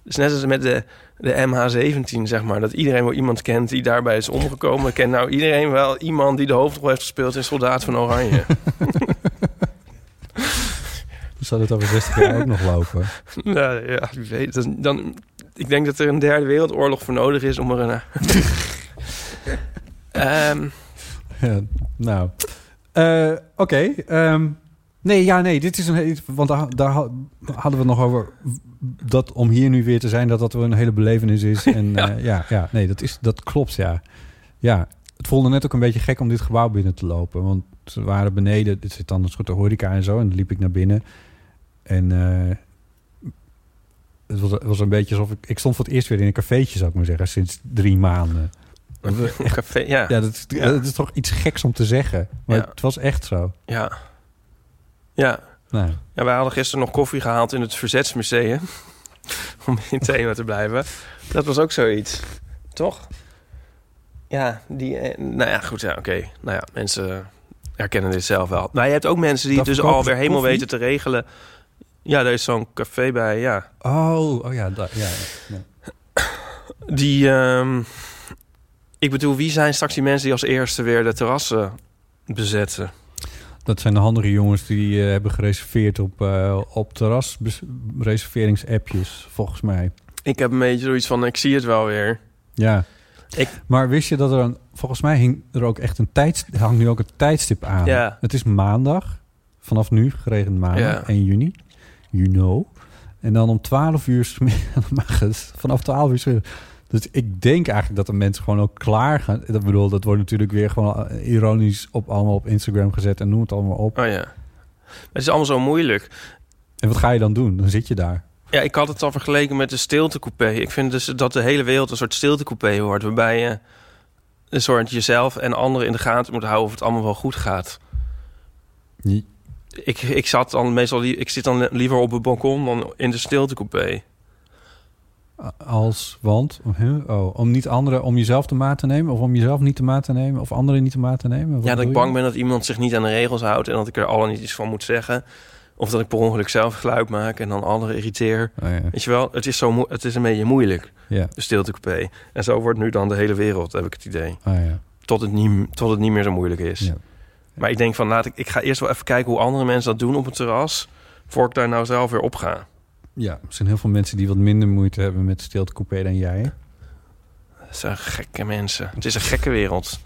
Speaker 4: Het is net als met de, de MH17, zeg maar. Dat iedereen wel iemand kent die daarbij is omgekomen. Kent nou iedereen wel iemand die de hoofdrol heeft gespeeld in Soldaat van Oranje?
Speaker 3: Zou dat over 60 jaar ook nog lopen?
Speaker 4: nou, ja, wie weet. Dan, dan, ik denk dat er een derde wereldoorlog voor nodig is om er een... eh, Ehm,
Speaker 3: Ja, nou. Eh, Oké. ehm, nee, ja, nee. Dit is een... hele- Want daar, daar ha- hadden we het nog over... Dat om hier nu weer te zijn, dat dat wel een hele belevenis is. En ja, ja, ja nee, dat, is, dat klopt, ja. Ja, het voelde net ook een beetje gek om dit gebouw binnen te lopen. Want ze waren beneden. Dit zit dan een soort horeca en zo. En dan liep ik naar binnen. En... eh, het was, het was een beetje alsof ik... Ik stond voor het eerst weer in een cafeetje, zou ik maar zeggen. Sinds drie maanden.
Speaker 4: een café, ja.
Speaker 3: Ja, dat, dat is toch iets geks om te zeggen. Maar
Speaker 4: Ja.
Speaker 3: het was echt zo.
Speaker 4: ja. Ja,
Speaker 3: Nou,
Speaker 4: Ja, wij hadden gisteren nog koffie gehaald in het Verzetsmuseum. (laughs) Om in het thema te blijven. Dat was ook zoiets. Toch? Ja, die... eh, Nou ja, goed. Ja, Oké. Nou ja, mensen herkennen dit zelf wel. Maar je hebt ook mensen die
Speaker 3: Dat
Speaker 4: het dus
Speaker 3: verkopen
Speaker 4: alweer
Speaker 3: ze
Speaker 4: helemaal
Speaker 3: koffie?
Speaker 4: weten te regelen. Ja, daar is zo'n café bij, ja.
Speaker 3: oh, oh ja, da- ja, ja, ja.
Speaker 4: Die... ehm, ik bedoel, wie zijn straks die mensen die als eerste weer de terrassen bezetten?
Speaker 3: Dat zijn de handige jongens die eh, hebben gereserveerd op, eh op terrasreserveringsappjes, volgens mij.
Speaker 4: Ik heb een beetje zoiets van, ik zie het wel weer.
Speaker 3: Ja.
Speaker 4: Ik-
Speaker 3: Maar wist je dat er een... Volgens mij hing er ook echt een tijd, hangt nu ook een tijdstip aan.
Speaker 4: Ja.
Speaker 3: Het is maandag. Vanaf nu, geregend maandag,
Speaker 4: Ja.
Speaker 3: 1 juni. You know. En dan om 12 uur... (laughs) smiddags- mag het. Vanaf 12 uur... smiddags. Dus ik denk eigenlijk dat de mensen gewoon ook klaar gaan. Dat bedoel, dat wordt natuurlijk weer gewoon eh, ironisch op allemaal op Instagram gezet en noem het allemaal op.
Speaker 4: Oh ja. Het is allemaal zo moeilijk.
Speaker 3: En wat ga je dan doen? Dan zit je daar.
Speaker 4: Ja, ik had het al vergeleken met de stiltecoupé. Ik vind dus dat de hele wereld een soort stiltecoupé wordt... waarbij je een soort jezelf en anderen in de gaten moet houden... of het allemaal wel goed gaat.
Speaker 3: Ja.
Speaker 4: Ik, ik, zat dan meestal lie- ik zit dan li- liever op het balkon dan in de stiltecoupé.
Speaker 3: Als, want, huh? oh, om niet anderen, om jezelf de maat te nemen? Of om jezelf niet de maat te nemen? Of anderen niet de maat te nemen? Wat
Speaker 4: Ja, dat
Speaker 3: bedoel
Speaker 4: ik
Speaker 3: je?
Speaker 4: bang ben dat iemand zich niet aan de regels houdt... en dat ik er alle niet iets van moet zeggen. Of dat ik per ongeluk zelf geluid maak en dan anderen irriteer.
Speaker 3: Oh, ja.
Speaker 4: Weet je wel, het is, zo moe- het is een beetje moeilijk,
Speaker 3: Ja.
Speaker 4: de stiltecoupé. En zo wordt nu dan de hele wereld, heb ik het idee.
Speaker 3: Ah, ja.
Speaker 4: Tot het niet, tot het niet meer zo moeilijk is.
Speaker 3: Ja.
Speaker 4: Maar ik denk van, laat ik, ik ga eerst wel even kijken hoe andere mensen dat doen op het terras. Voor ik daar nou zelf weer op ga.
Speaker 3: ja, er zijn heel veel mensen die wat minder moeite hebben met stiltecoupé dan
Speaker 4: (laughs)
Speaker 3: jij.
Speaker 4: Dat zijn gekke mensen. Het is een gekke wereld.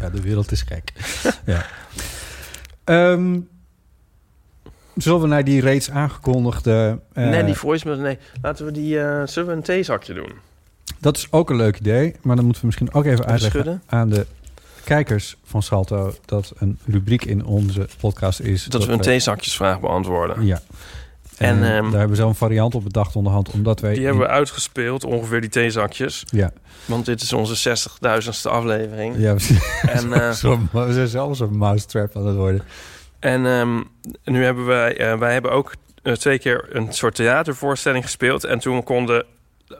Speaker 3: Ja, de wereld is gek. ja. Ehm, zullen we naar die reeds aangekondigde... eh,
Speaker 4: nee, die voicemail, nee. Laten we die, eh, zullen we een theezakje doen?
Speaker 3: Dat is ook een leuk idee, maar dan moeten we misschien ook even uitleggen
Speaker 4: schudden?
Speaker 3: aan de kijkers van Salto... dat een rubriek in onze podcast is... eh,
Speaker 4: Dat we een theezakjesvraag beantwoorden.
Speaker 3: Ja. En,
Speaker 4: En,
Speaker 3: eh,
Speaker 4: ehm,
Speaker 3: daar hebben we zelf een variant op bedacht onderhand, omdat wij...
Speaker 4: Die hebben we uitgespeeld, ongeveer die theezakjes.
Speaker 3: Ja,
Speaker 4: Want dit is onze 60.000ste aflevering.
Speaker 3: ja precies. (laughs)
Speaker 4: En, eh,
Speaker 3: Zo- we zijn zelfs een mousetrap aan het worden.
Speaker 4: En ehm, nu hebben wij, eh, wij hebben ook eh, twee keer een soort theatervoorstelling gespeeld. En toen konden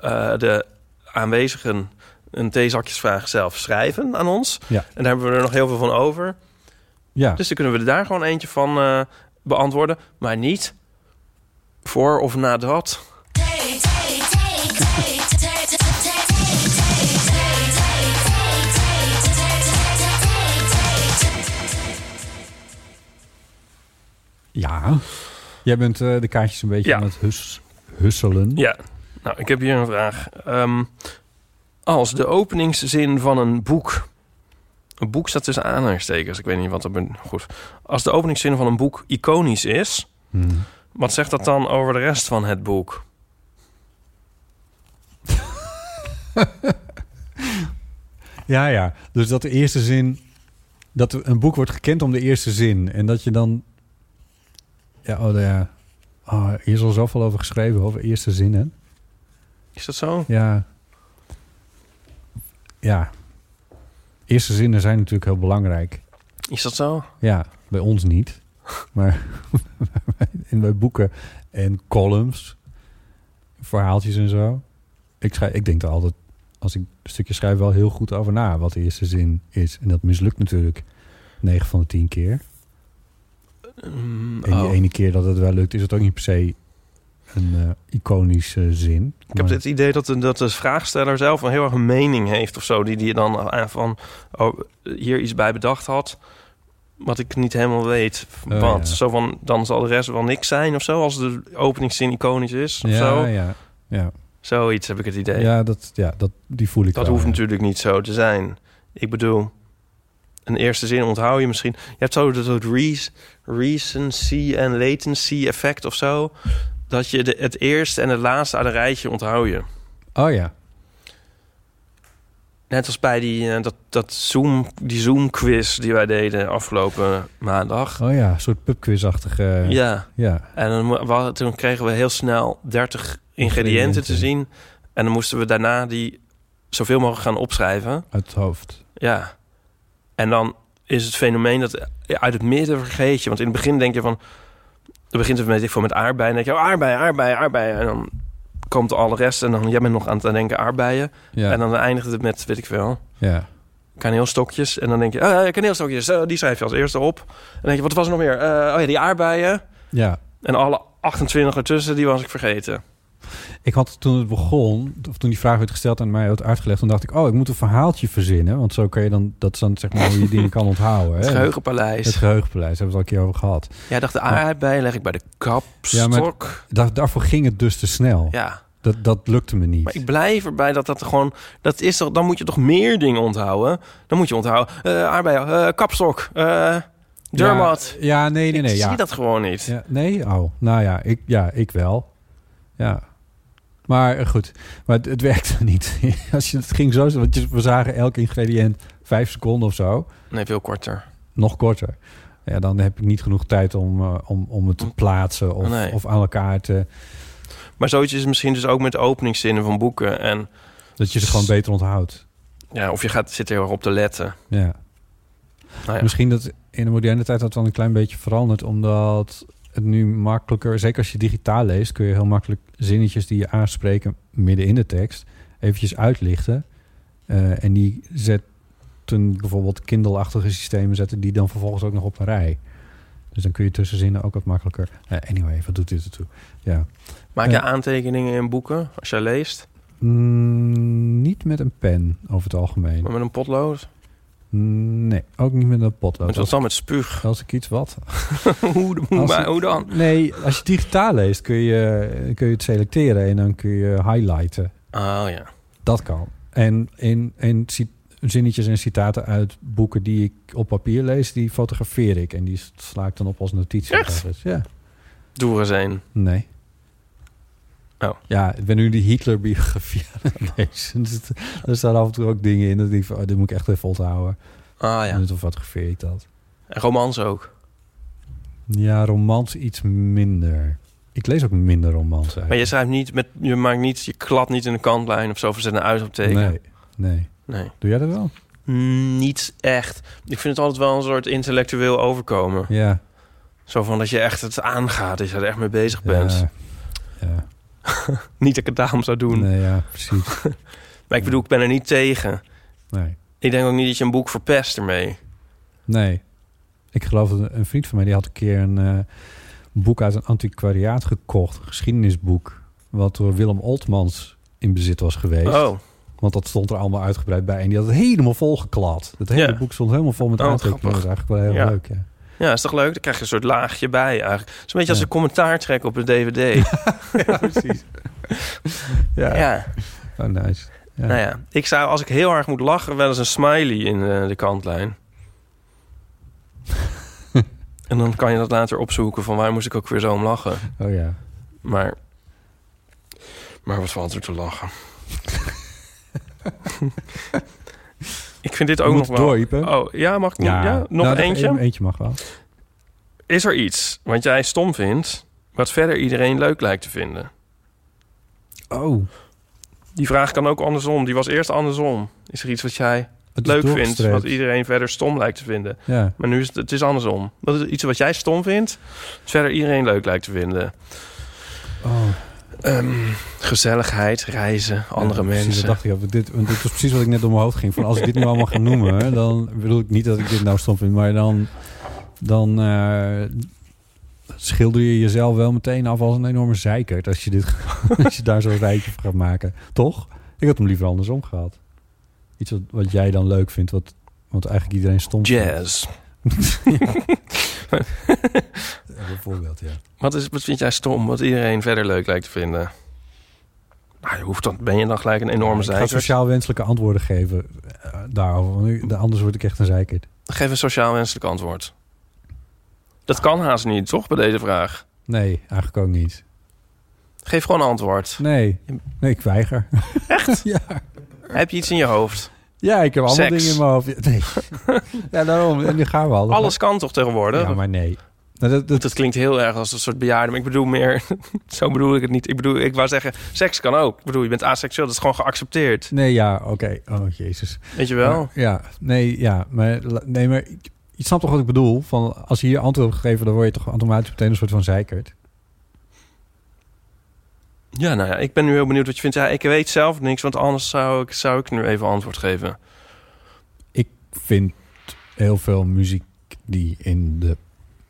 Speaker 4: eh, de aanwezigen een theezakjesvraag zelf schrijven aan ons.
Speaker 3: Ja.
Speaker 4: En daar hebben we er nog heel veel van over.
Speaker 3: Ja,
Speaker 4: Dus dan kunnen we er daar gewoon eentje van eh, beantwoorden. Maar niet voor of nadat.
Speaker 3: ja. Jij bent eh, de kaartjes een beetje
Speaker 4: Ja.
Speaker 3: aan het hus, husselen.
Speaker 4: Ja, nou, ik heb hier een vraag. Ehm, als de openingszin van een boek... Een boek staat tussen aanhalingstekens. Ik weet niet wat dat... ben- Goed. Als de openingszin van een boek iconisch is...
Speaker 3: Hm.
Speaker 4: Wat zegt dat dan over de rest van het boek?
Speaker 3: Ja, ja. Dus dat de eerste zin... Dat er een boek wordt gekend om de eerste zin. En dat je dan... Ja, oh, ja. Oh, hier is al zoveel over geschreven, over eerste zinnen.
Speaker 4: Is dat zo?
Speaker 3: Ja. Ja. Eerste zinnen zijn natuurlijk heel belangrijk.
Speaker 4: Is dat zo?
Speaker 3: Ja, bij ons niet. Maar (laughs) in bij boeken en columns, verhaaltjes en zo. Ik, schrijf, ik denk er altijd, als ik een stukje schrijf, wel heel goed over na wat de eerste zin is. En dat mislukt natuurlijk 9 van de 10 keer.
Speaker 4: Mm,
Speaker 3: En die
Speaker 4: oh.
Speaker 3: ene keer dat het wel lukt, is het ook niet per se een eh, iconische zin.
Speaker 4: Ik heb het idee dat de, dat de vraagsteller zelf een heel erg een mening heeft of zo. Die die dan aan van oh, hier iets bij bedacht had. Wat ik niet helemaal weet.
Speaker 3: Oh,
Speaker 4: Want
Speaker 3: ja.
Speaker 4: zo van, dan zal de rest wel niks zijn of zo. Als de openingszin iconisch is of
Speaker 3: ja,
Speaker 4: zo.
Speaker 3: Ja, ja.
Speaker 4: Zoiets heb ik het idee.
Speaker 3: ja, dat, ja dat, die voel ik
Speaker 4: Dat
Speaker 3: wel,
Speaker 4: hoeft
Speaker 3: ja.
Speaker 4: natuurlijk niet zo te zijn. Ik bedoel, een eerste zin onthoud je misschien. Je hebt zo dat soort re- recency en latency effect of zo. Dat je de, het eerste en het laatste aan een rijtje onthoud je.
Speaker 3: Oh ja,
Speaker 4: Net als bij die, eh, dat, dat Zoom, die Zoom quiz die wij deden afgelopen maandag.
Speaker 3: oh ja, een soort pubquizachtige...
Speaker 4: Ja,
Speaker 3: Ja. ja.
Speaker 4: en dan, mo- wa- toen kregen we heel snel 30 ingrediënten te zien. En dan moesten we daarna die zoveel mogelijk gaan opschrijven.
Speaker 3: Uit het hoofd.
Speaker 4: Ja. En dan is het fenomeen dat eh, uit het midden vergeet je. Want in het begin denk je van... Dan begint het met, ik, voor met aardbeien. Dan denk je, oh, aardbeien, aardbeien, aardbeien. En dan komt al de rest. En dan, jij bent nog aan het denken aardbeien.
Speaker 3: Ja,
Speaker 4: En dan eindigt het met, weet ik veel,
Speaker 3: ja.
Speaker 4: kaneelstokjes. En dan denk je, oh, ja, kaneelstokjes, eh, die schrijf je als eerste op. En dan denk je, wat was er nog meer? Eh, oh ja, die aardbeien.
Speaker 3: ja.
Speaker 4: En alle 28 ertussen, die was ik vergeten.
Speaker 3: Ik had toen het begon, of toen die vraag werd gesteld en mij werd uitgelegd, dan dacht ik, oh, ik moet een verhaaltje verzinnen. Want zo kan je dan, dat is dan zeg maar hoe je dingen kan onthouden.
Speaker 4: (laughs) Het
Speaker 3: hè?
Speaker 4: geheugenpaleis.
Speaker 3: Het geheugenpaleis, hebben we het al een keer over gehad.
Speaker 4: Jij dacht, de aardbeien leg ik bij de kapstok. Ja,
Speaker 3: Da- daarvoor ging het dus te snel.
Speaker 4: ja.
Speaker 3: Dat, dat lukte me niet.
Speaker 4: Maar ik blijf erbij dat dat gewoon... Dat is toch, dan moet je toch meer dingen onthouden? Dan moet je onthouden... eh aardbeien, eh, kapstok, eh deurmat.
Speaker 3: Ja, ja, nee, nee, nee.
Speaker 4: Ik
Speaker 3: ja.
Speaker 4: zie dat gewoon niet.
Speaker 3: Ja, nee, oh, nou ja, ik, ja, ik wel. Ja. Maar eh, goed, maar het, het werkte (laughs) niet. Als je, het ging zo, want je- we zagen elk ingrediënt vijf seconden of zo.
Speaker 4: Nee, veel korter.
Speaker 3: nog korter. Ja, dan heb ik niet genoeg tijd om, eh, om, om het te plaatsen of,
Speaker 4: Nee.
Speaker 3: of aan elkaar te...
Speaker 4: Maar zoiets is misschien dus ook met openingszinnen van boeken. En
Speaker 3: Dat je ze gewoon beter onthoudt.
Speaker 4: ja, of je gaat, zit er heel erg op te letten.
Speaker 3: Ja.
Speaker 4: Nou ja.
Speaker 3: Misschien dat in de moderne tijd dat wel een klein beetje veranderd, omdat het nu makkelijker, zeker als je digitaal leest, kun je heel makkelijk zinnetjes die je aanspreken midden in de tekst eventjes uitlichten. Eh, en die zetten bijvoorbeeld Kindle-achtige systemen, zetten die dan vervolgens ook nog op een rij. Dus dan kun je tussen zinnen ook wat makkelijker. Eh, anyway, wat doet dit ertoe? Ja.
Speaker 4: Maak je
Speaker 3: Ja.
Speaker 4: aantekeningen in boeken als jij leest?
Speaker 3: Mm, niet met een pen over het algemeen. Mm,
Speaker 4: Maar met een potlood?
Speaker 3: Nee, ook niet met een potlood.
Speaker 4: Met wat
Speaker 3: Als,
Speaker 4: dan? Met spuug?
Speaker 3: als ik iets wat.
Speaker 4: (laughs) hoe, hoe,
Speaker 3: Als-
Speaker 4: (laughs) maar hoe dan?
Speaker 3: Nee, als je digitaal leest kun je, kun je het selecteren en dan kun je highlighten.
Speaker 4: Oh
Speaker 3: Ah,
Speaker 4: ja.
Speaker 3: Dat kan. En in, in ci- zinnetjes en citaten uit boeken die ik op papier lees, die fotografeer ik. En die sla ik dan op als notitie. ergens. Ja.
Speaker 4: Doe er eens een.
Speaker 3: Nee.
Speaker 4: Oh.
Speaker 3: Ja, ik ben nu die Hitler-biografie aan
Speaker 4: (laughs)
Speaker 3: het lezen. Dus het- er staan af en toe ook dingen in dat ik denk van... Oh, dit moet ik echt even onthouden.
Speaker 4: Ah
Speaker 3: Ja.
Speaker 4: ja.
Speaker 3: En toen fotografeer ik dat.
Speaker 4: En romans ook.
Speaker 3: Ja, romans iets minder. Ik lees ook minder romans uit.
Speaker 4: Maar je schrijft niet met... Je maakt niet... Je klad niet in de kantlijn of zo. Of zet een uitroepteken.
Speaker 3: Nee, nee.
Speaker 4: Nee.
Speaker 3: Doe jij dat wel?
Speaker 4: Mm, niet echt. Ik vind het altijd wel een soort intellectueel overkomen.
Speaker 3: Ja.
Speaker 4: Zo van dat je echt het aangaat, dat je er echt mee bezig bent.
Speaker 3: Ja, ja.
Speaker 4: Niet dat ik het daarom zou doen. (laughs)
Speaker 3: Nee, ja, precies.
Speaker 4: Maar ik bedoel, ik ben er niet tegen.
Speaker 3: Nee.
Speaker 4: Ik denk ook niet dat je een boek verpest ermee.
Speaker 3: Nee. Ik geloof dat een vriend van mij die had een keer een eh, boek uit een antiquariaat gekocht, een geschiedenisboek, wat door Willem Oltmans in bezit was geweest.
Speaker 4: Oh,
Speaker 3: Want dat stond er allemaal uitgebreid bij. En die had het helemaal volgeklad. Het hele
Speaker 4: Ja.
Speaker 3: boek stond helemaal vol met
Speaker 4: Oh, wat
Speaker 3: uitdrukkingen. Dat is eigenlijk wel heel
Speaker 4: Ja.
Speaker 3: leuk.
Speaker 4: (laughs)
Speaker 3: Ja.
Speaker 4: ja, is toch leuk? Dan krijg je een soort laagje bij eigenlijk. Het is een beetje als
Speaker 3: Ja.
Speaker 4: een commentaar trekken op een
Speaker 3: (laughs)
Speaker 4: DVD. ja.
Speaker 3: Oh, nice. Ja.
Speaker 4: nou ja. Ik zou, als ik heel erg moet lachen, wel eens een smiley in eh, de kantlijn.
Speaker 3: (laughs)
Speaker 4: en dan kan je dat later opzoeken van waar moest ik ook weer zo om lachen.
Speaker 3: Oh ja.
Speaker 4: Maar, maar wat valt er te lachen? (laughs) ik vind dit ook
Speaker 3: Moet
Speaker 4: nog wel...
Speaker 3: door, Ipe.
Speaker 4: Oh, ja, mag ik nog- ja. Nog
Speaker 3: Nou, dat-
Speaker 4: eentje?
Speaker 3: Eentje mag wel.
Speaker 4: Is er iets wat jij stom vindt... wat verder iedereen leuk lijkt te vinden?
Speaker 3: Oh.
Speaker 4: Die vraag kan ook andersom. Die was eerst andersom. Is er iets wat jij
Speaker 3: Het is
Speaker 4: leuk vindt...
Speaker 3: doorgestreept.
Speaker 4: wat iedereen verder stom lijkt te vinden?
Speaker 3: Ja.
Speaker 4: Maar nu is het, het is andersom. Wat is iets wat jij stom vindt... wat verder iedereen leuk lijkt te vinden?
Speaker 3: Oh.
Speaker 4: Ehm, gezelligheid, reizen, andere
Speaker 3: Ja, precies,
Speaker 4: mensen.
Speaker 3: dat dacht ik. ook. Dit, want dit was precies wat ik net door mijn hoofd ging. Van als ik dit nu allemaal ga noemen, hè, dan bedoel ik niet dat ik dit nou stom vind, maar dan, dan eh, schilder je jezelf wel meteen af als een enorme zeikert. Als je, dit, (laughs) als je daar zo'n rijtje van gaat maken. Toch? Ik had hem liever andersom gehad. Iets wat, wat jij dan leuk vindt, wat, wat eigenlijk iedereen stom vindt.
Speaker 4: Jazz.
Speaker 3: Ja, bijvoorbeeld, ja.
Speaker 4: Wat, is, wat vind jij stom? Wat iedereen verder leuk lijkt te vinden? Nou, je hoeft dan, ben je dan gelijk een enorme
Speaker 3: Ik ga
Speaker 4: zeikert?
Speaker 3: sociaal wenselijke antwoorden geven eh, daarover. want nu- Anders word ik echt een zeikert.
Speaker 4: Geef een sociaal wenselijk antwoord. Dat kan haast niet, toch, bij deze vraag?
Speaker 3: Nee, eigenlijk ook niet.
Speaker 4: Geef gewoon een antwoord.
Speaker 3: Nee, nee ik weiger. Echt? ja.
Speaker 4: Heb je iets in je hoofd?
Speaker 3: ja, ik heb allemaal
Speaker 4: Seks.
Speaker 3: dingen in mijn hoofd. Nee.
Speaker 4: (laughs)
Speaker 3: ja, daarom. En nu gaan we al.
Speaker 4: Alles kan toch tegenwoordig?
Speaker 3: Ja, maar nee. Nou, dat, dat,
Speaker 4: Dat klinkt heel erg als een soort bejaarde. Maar ik bedoel meer... (laughs) zo bedoel ik het niet. Ik bedoel, ik wou zeggen, seks kan ook. Ik bedoel, je bent asexueel. Dat is gewoon geaccepteerd.
Speaker 3: nee, ja, oké. Oh, jezus.
Speaker 4: Weet je wel?
Speaker 3: Maar, ja, nee, ja. Maar, la- nee, maar ik- je snapt toch wat ik bedoel? Van, als je hier antwoord op gegeven, dan word je toch automatisch meteen een soort van zeikert.
Speaker 4: Ja, nou ja, ik ben nu heel benieuwd wat je vindt. Ja, ik weet zelf niks, want anders zou ik, zou ik nu even antwoord geven.
Speaker 3: Ik vind heel veel muziek die in de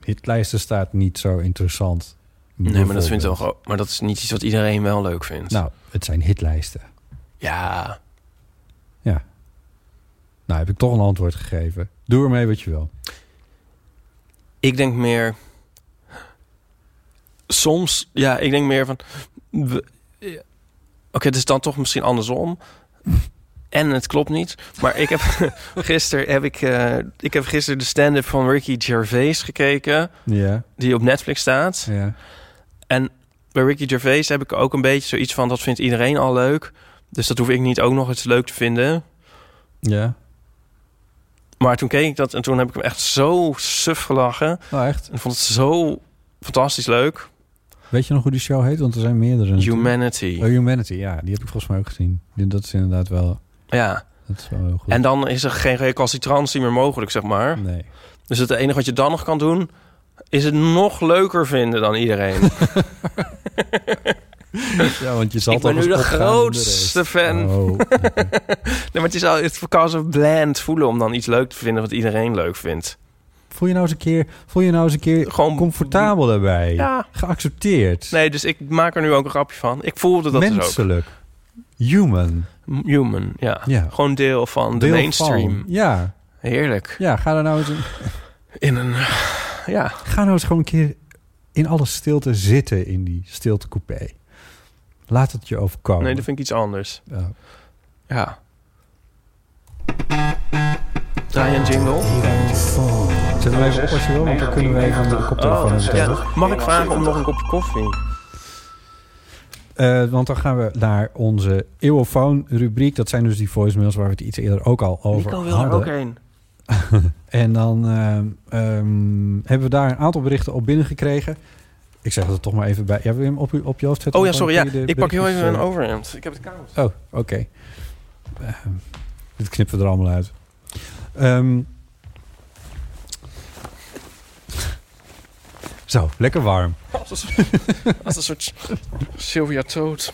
Speaker 3: hitlijsten staat niet zo interessant.
Speaker 4: Nee, maar dat, vindt wel,
Speaker 3: Bijvoorbeeld.
Speaker 4: gewoon- maar dat is niet iets wat iedereen wel leuk vindt.
Speaker 3: Nou, het zijn hitlijsten.
Speaker 4: Ja,
Speaker 3: Ja. Nou, heb ik toch een antwoord gegeven. Doe ermee wat je wil.
Speaker 4: ik denk meer... Soms, ja, ik denk meer van... we- ja. Oké, het is dan toch misschien andersom. En het klopt niet. Maar ik heb (laughs) gisteren heb ik, eh, ik heb gisteren de stand-up van Ricky Gervais gekeken.
Speaker 3: Ja,
Speaker 4: Die op Netflix staat.
Speaker 3: ja.
Speaker 4: En bij Ricky Gervais heb ik ook een beetje zoiets van... dat vindt iedereen al leuk. Dus dat hoef ik niet ook nog eens leuk te vinden.
Speaker 3: Ja.
Speaker 4: Maar toen keek ik dat en toen heb ik hem echt zo suf gelachen.
Speaker 3: Nou, echt.
Speaker 4: En ik vond het zo fantastisch leuk.
Speaker 3: Weet je nog hoe die show heet? Want er zijn meerdere.
Speaker 4: Humanity.
Speaker 3: Oh, Humanity, ja. Die heb ik volgens mij ook gezien. Die- Dat is inderdaad wel...
Speaker 4: Ja.
Speaker 3: Dat is wel heel goed.
Speaker 4: En dan is er geen recalcitrantie meer mogelijk, zeg maar.
Speaker 3: Nee. (laughs)
Speaker 4: Dus het enige wat je dan nog kan doen... is het nog leuker vinden dan
Speaker 3: (laughs)
Speaker 4: iedereen.
Speaker 3: Ja, want je zal
Speaker 4: Ik ben
Speaker 3: toch
Speaker 4: nu
Speaker 3: eens
Speaker 4: de
Speaker 3: opgaan
Speaker 4: grootste
Speaker 3: met de rest.
Speaker 4: fan.
Speaker 3: Oh, oké.
Speaker 4: nee, maar het, is al, het kan zo bland voelen om dan iets leuk te vinden... wat iedereen leuk vindt.
Speaker 3: voel je nou eens een keer, voel je nou eens een keer
Speaker 4: Gewoon-
Speaker 3: comfortabel daarbij?
Speaker 4: Ja.
Speaker 3: Geaccepteerd?
Speaker 4: Nee, dus ik maak er nu ook een grapje van. Ik voelde dat dus ook.
Speaker 3: Menselijk? Human?
Speaker 4: Human, ja.
Speaker 3: Ja.
Speaker 4: Gewoon deel van de
Speaker 3: Deel
Speaker 4: mainstream.
Speaker 3: van. Ja.
Speaker 4: Heerlijk.
Speaker 3: Ja, ga er nou eens... Een...
Speaker 4: In een... Ja,
Speaker 3: Ga nou eens gewoon een keer in alle stilte zitten in die stiltecoupé. Laat het je overkomen.
Speaker 4: nee, dat vind ik iets anders.
Speaker 3: Ja.
Speaker 4: Ja. Draai een jingle.
Speaker 3: Zet hem even op als je wil, want dan kunnen we even de koptelefoon
Speaker 4: Oh,
Speaker 3: even doen.
Speaker 4: ja. Mag ik vragen om nog een kopje koffie?
Speaker 3: Eh, Want dan gaan we naar onze eeuwofoon-rubriek. Dat zijn dus die voicemails waar we het iets eerder ook al over
Speaker 4: Nico wil er
Speaker 3: hadden.
Speaker 4: ook een.
Speaker 3: En dan ehm, ehm, hebben we daar een aantal berichten op binnengekregen. Ik zeg het toch maar even bij. Ja, wil je hem op, u- op je hoofd zetten?
Speaker 4: Oh ja,
Speaker 3: Dan kan
Speaker 4: sorry. Ja.
Speaker 3: je de
Speaker 4: Ik pak heel
Speaker 3: berichtjes,
Speaker 4: even een
Speaker 3: eh,
Speaker 4: overhemd. Ik (laughs) heb het koud.
Speaker 3: Oh, oké. Ehm, dit knippen we er allemaal uit. Ehm, zo, lekker warm.
Speaker 4: Als een
Speaker 3: (laughs)
Speaker 4: soort- Als een soort Sylvia Toad.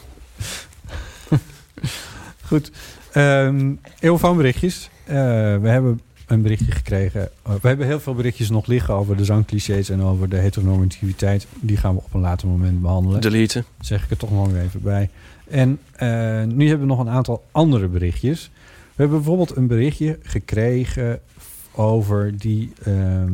Speaker 3: Goed. Ehm heel van berichtjes. Eh, we hebben een berichtje gekregen. Eh, we hebben heel veel berichtjes nog liggen over de zangclichés en over de heteronormativiteit. Die gaan we op een later moment behandelen.
Speaker 4: Deleten.
Speaker 3: Zeg ik er toch nog weer even bij. En eh, nu hebben we nog een aantal andere berichtjes. We hebben bijvoorbeeld een berichtje gekregen over die. ehm,